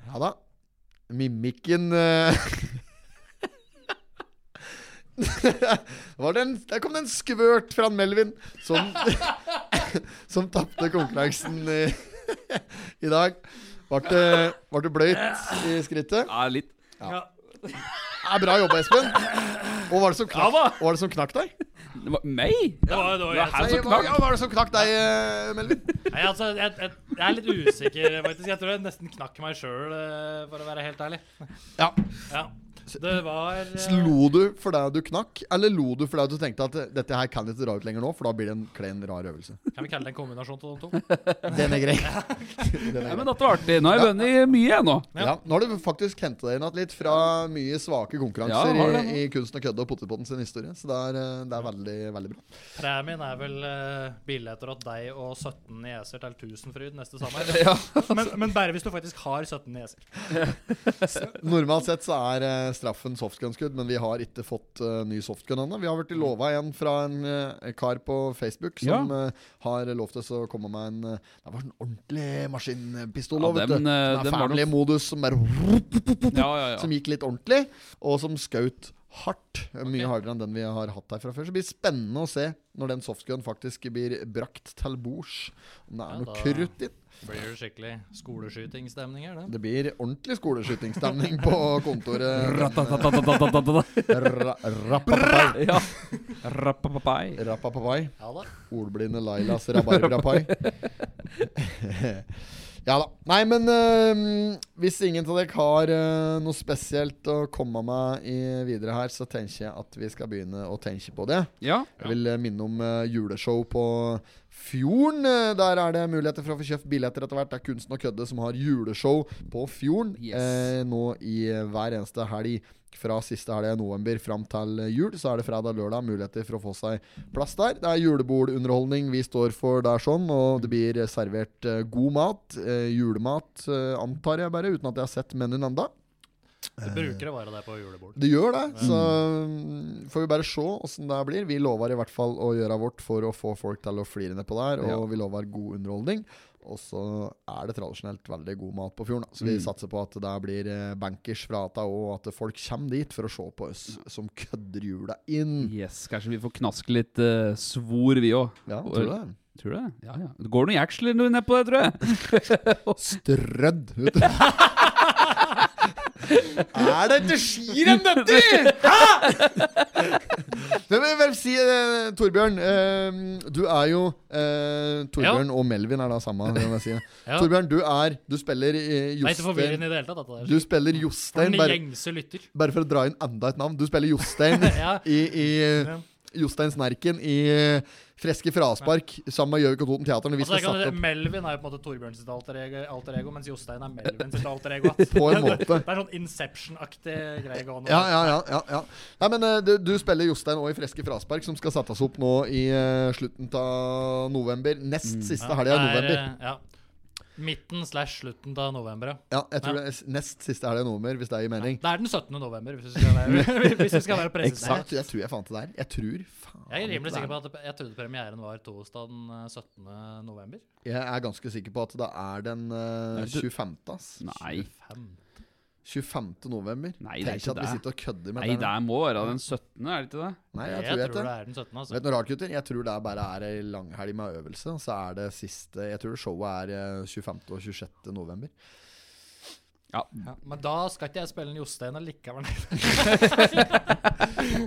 S3: ja da. Mimikken eh, *laughs* var det en, Der kom det en skvørt fra Melvin, som, *laughs* som tapte konkurransen i, *laughs* i dag. Ble det, var det bløyt i skrittet?
S4: Ja, litt.
S3: Ja, bra jobba, Espen. Og hva var det som knakk,
S4: Ja da.
S3: hva var det som knakk deg?
S4: Det var meg?
S1: Det var, det var,
S4: Det er
S1: jeg,
S4: her som
S3: Hva
S4: knakk.
S3: ja, hva var det som knakk deg, eh, Melvin?
S1: Nei, altså, jeg, jeg, jeg er litt usikker, faktisk. Jeg tror jeg nesten knakk meg sjøl, for å være helt ærlig.
S3: Ja.
S1: Ja. Det var eh,
S3: Lo du fordi du knakk, eller lo du fordi du tenkte at eh, dette her kan jeg ikke dra ut lenger nå, for da blir det en klein, rar øvelse?
S1: Kan vi kalle det en kombinasjon av de to?
S3: Den
S4: *laughs*
S3: er grei. Den
S4: Nei,
S3: er grei.
S4: men dette var artig. Nå har jeg vunnet mye, jeg nå.
S3: Ja, nå har du faktisk henta deg inn igjen litt fra mye svake
S4: Ja,
S3: konkurranser
S4: har det.
S3: i, i Kunsten og kødde og Pottipotten sin historie, så det er, eh, det er veldig, veldig bra.
S1: Premien er vel uh, billetter åt deg og 17 nieser til Tusenfryd neste
S3: *laughs*
S1: sommer.
S4: Ja.
S1: Men, men bare hvis du faktisk har 17 nieser.
S3: Normalt sett så er eh, straffen softgunskudd, men vi har ikke fått eh, ny softgun ennå. Vi har blitt lova en fra en eh, kar på Facebook som eh, har lovt oss å komme med en eh, Det var en ordentlig maskinpistol.
S4: Ja,
S3: vet
S4: dem,
S3: du.
S4: eh,
S3: Sånn
S4: dem
S3: der
S4: var
S3: family
S4: nok-
S3: modus som bare
S4: Ja, ja, ja.
S3: som gikk litt ordentlig, og som skjøt hardt. Mye hardere enn den vi har hatt her fra før. Så det blir spennende å se når den softgun faktisk blir brakt til bords. Om det
S1: Ja,
S3: er
S1: da-
S3: noe krutt i den.
S1: Blir det skikkelig skoleskytingsstemning her, det?
S3: Det blir ordentlig skoleskytingsstemning på kontoret.
S4: Ratatatatatatatata.
S3: Ra- rapapapai.
S4: Ja. Rappapapai.
S3: Rapapapai.
S1: Ja da.
S3: Ordblinde Lailas rabarbrapai. ja da. Nei, men øhm, hvis ingen av dere har øh, noe spesielt å komme med i videre her, så tenker jeg at vi skal begynne å tenke på det.
S4: Ja.
S3: Jeg vil eh, minne om eh, juleshow på Fjorden. Eh, Der er det muligheter for å få kjøpt billetter etter hvert. Det er Kunsten og kødde som har juleshow på Fjorden
S4: Yes.
S3: eh, nå i eh, hver eneste helg. Fra siste helg i november fram til eh, jul, så er det fredag og lørdag muligheter for å få seg plass der. Det er julebordunderholdning vi står for der, sånn, og det blir eh, servert eh, god mat. eh, Julemat, eh, antar jeg bare, uten at jeg har sett menyen enda
S1: Det bruker å være det på julebord.
S3: det gjør det, så mm, får vi bare se åssen det her blir. Vi lover i hvert fall å gjøre vårt for å få folk til å flire nedpå der, og
S4: Ja.
S3: vi lover god underholdning. Og så er det tradisjonelt veldig god mat på fjorden. da. Så vi
S4: Mm.
S3: satser på at det der blir eh, bankers fra ATA, og at folk kommer dit for å se på oss som kødder jula inn.
S4: Yes, kanskje vi får knaske litt eh, svor, vi òg.
S3: Ja, tror du det?
S4: Tror du det? Ja, ja. Det går noen jaksler nedpå det, tror jeg.
S3: Strødd! vet du. er det ikke skirenn, dette?! Hæ?! Men jeg vil si, eh, Torbjørn, eh, du er jo eh, Torbjørn og Melvin er da samme. det må Jeg si.
S1: Ja.
S3: Torbjørn, du er Du spiller eh,
S1: Det er ikke forvirrende i
S3: Jostein
S1: det hele tatt, dette
S3: Du
S1: der.
S3: spiller
S1: For
S3: Jostein,
S1: den
S3: bare,
S1: gjengse lytter.
S3: bare for å dra inn enda et navn. Du spiller Jostein
S1: *laughs* Ja.
S3: i, i Jostein Snerken i eh, Freske fraspark sammen med Gjøvik og Toten Teateren. Vi
S1: Altså,
S3: skal
S1: jeg kan,
S3: sette opp
S1: Melvin er jo på en måte Torbjørn sitt alter ego, alter ego mens Jostein er Melvin sitt alter ego. ass.
S3: på en måte.
S1: Det er sånn Inception-aktig greie gående.
S3: Ja, ja, ja, ja, ja. Nei, men eh, du, du spiller Jostein òg i Freske Fraspark, som skal settes opp nå i eh, slutten av november. Nest siste helga i
S1: Mm. Det er,
S3: november.
S1: eh, Ja. Midten slash slutten av november, ja.
S3: Ja, jeg tror
S1: Ja.
S3: det er s- nest siste er det nummer, hvis det gir mening.
S1: Det er den 17. november, hvis vi skal
S3: *laughs*
S1: være, *laughs* hvis vi skal være presise.
S3: Nei, jeg, tror- jeg tror jeg fant det der. Jeg tror faen
S1: Jeg er rimelig
S3: ikke det
S1: sikker
S3: er-
S1: på at jeg trodde premieren var torsdag den eh, 17. november.
S3: Jeg er ganske sikker på at det er den eh,
S4: Nei, du-
S3: 25. ass.
S4: Nei,
S1: 25.
S3: 25. november.
S4: Nei, det er
S3: Tenk
S4: ikke
S3: at vi
S4: det.
S3: sitter og kødder med
S4: Nei,
S3: dette.
S4: det må være den 17., er det ikke det?
S3: Nei, jeg
S1: Jeg,
S3: tror, jeg
S1: tror det
S3: det.
S1: er den 17. altså.
S3: Vet du noe rart, gutter? Jeg tror det er bare er ei langhelg med øvelse. Så er det siste Jeg tror showet er eh, 25. og 26. november.
S4: Ja.
S1: Ja, men da skal ikke jeg spille en Jostein allikevel. *laughs*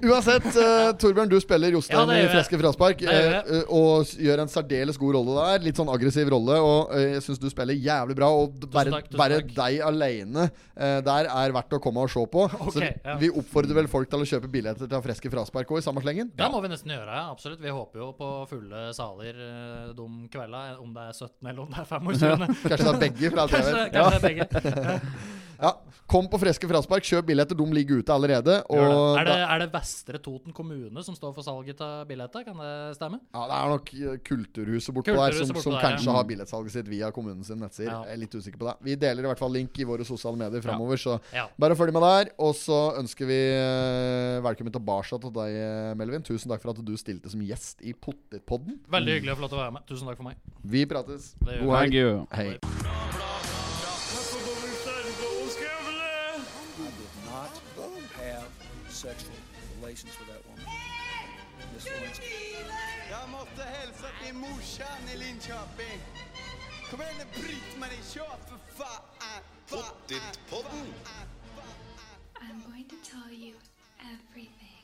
S3: Uansett, eh, Torbjørn, du spiller
S1: Ja,
S3: Jostein
S1: det gjør
S3: i
S1: jeg.
S3: Freske fraspark.
S1: Det gjør
S3: eh, eh, og s- gjør en særdeles god rolle der. Litt sånn aggressiv rolle. Og eh, jeg syns du spiller jævlig bra. Og d- bare,
S1: takk, tusen
S3: bare
S1: takk.
S3: deg aleine eh, der er verdt å komme og se på.
S1: Ok,
S3: så
S1: ja.
S3: vi oppfordrer vel folk til å kjøpe billetter til Freske fraspark òg, i samme slengen?
S1: Det må vi nesten gjøre, ja, absolutt. Vi håper jo på fulle saler eh, de kvelda, om det er 17. eller om det er 25.
S3: Kanskje det er begge? For alt
S1: *laughs*
S3: jeg
S1: Kanskje,
S3: vet.
S1: kanskje det er begge.
S3: Ja, kom på Freske fraspark, kjøp billetter. De ligger ute allerede.
S1: Gjør det.
S3: Og
S1: Er det, er det Vestre Toten kommune som står for salget av billetter? Kan det stemme?
S3: Ja, det er nok eh, Kulturhuset bortpå der
S1: Kulturhuset
S3: som,
S1: bortpå
S3: som
S1: der, ja.
S3: kanskje har billettsalget sitt via kommunen sin nettsider.
S1: Ja.
S3: Jeg er litt usikker på det. Vi deler i hvert fall link i våre sosiale medier framover, så
S1: Ja.
S3: bare følg med der. Og så ønsker vi eh, velkommen tilbake til deg, eh, Melvin. Tusen takk for at du stilte som gjest i Pottitpodden.
S1: Veldig hyggelig å få lov til å være med. Tusen takk for meg.
S3: Vi prates.
S1: Det gjør
S3: God
S4: Thank
S3: helg.
S4: you.
S3: Hei.
S5: not have sexual relations with that woman. Miss Lewinsky.
S6: Jag måste hälsa till morsan i Linköping. Kom igen nu Britt-Marie, kör för fan! Fan, fan, fan, fan.
S7: I'm going to tell you everything.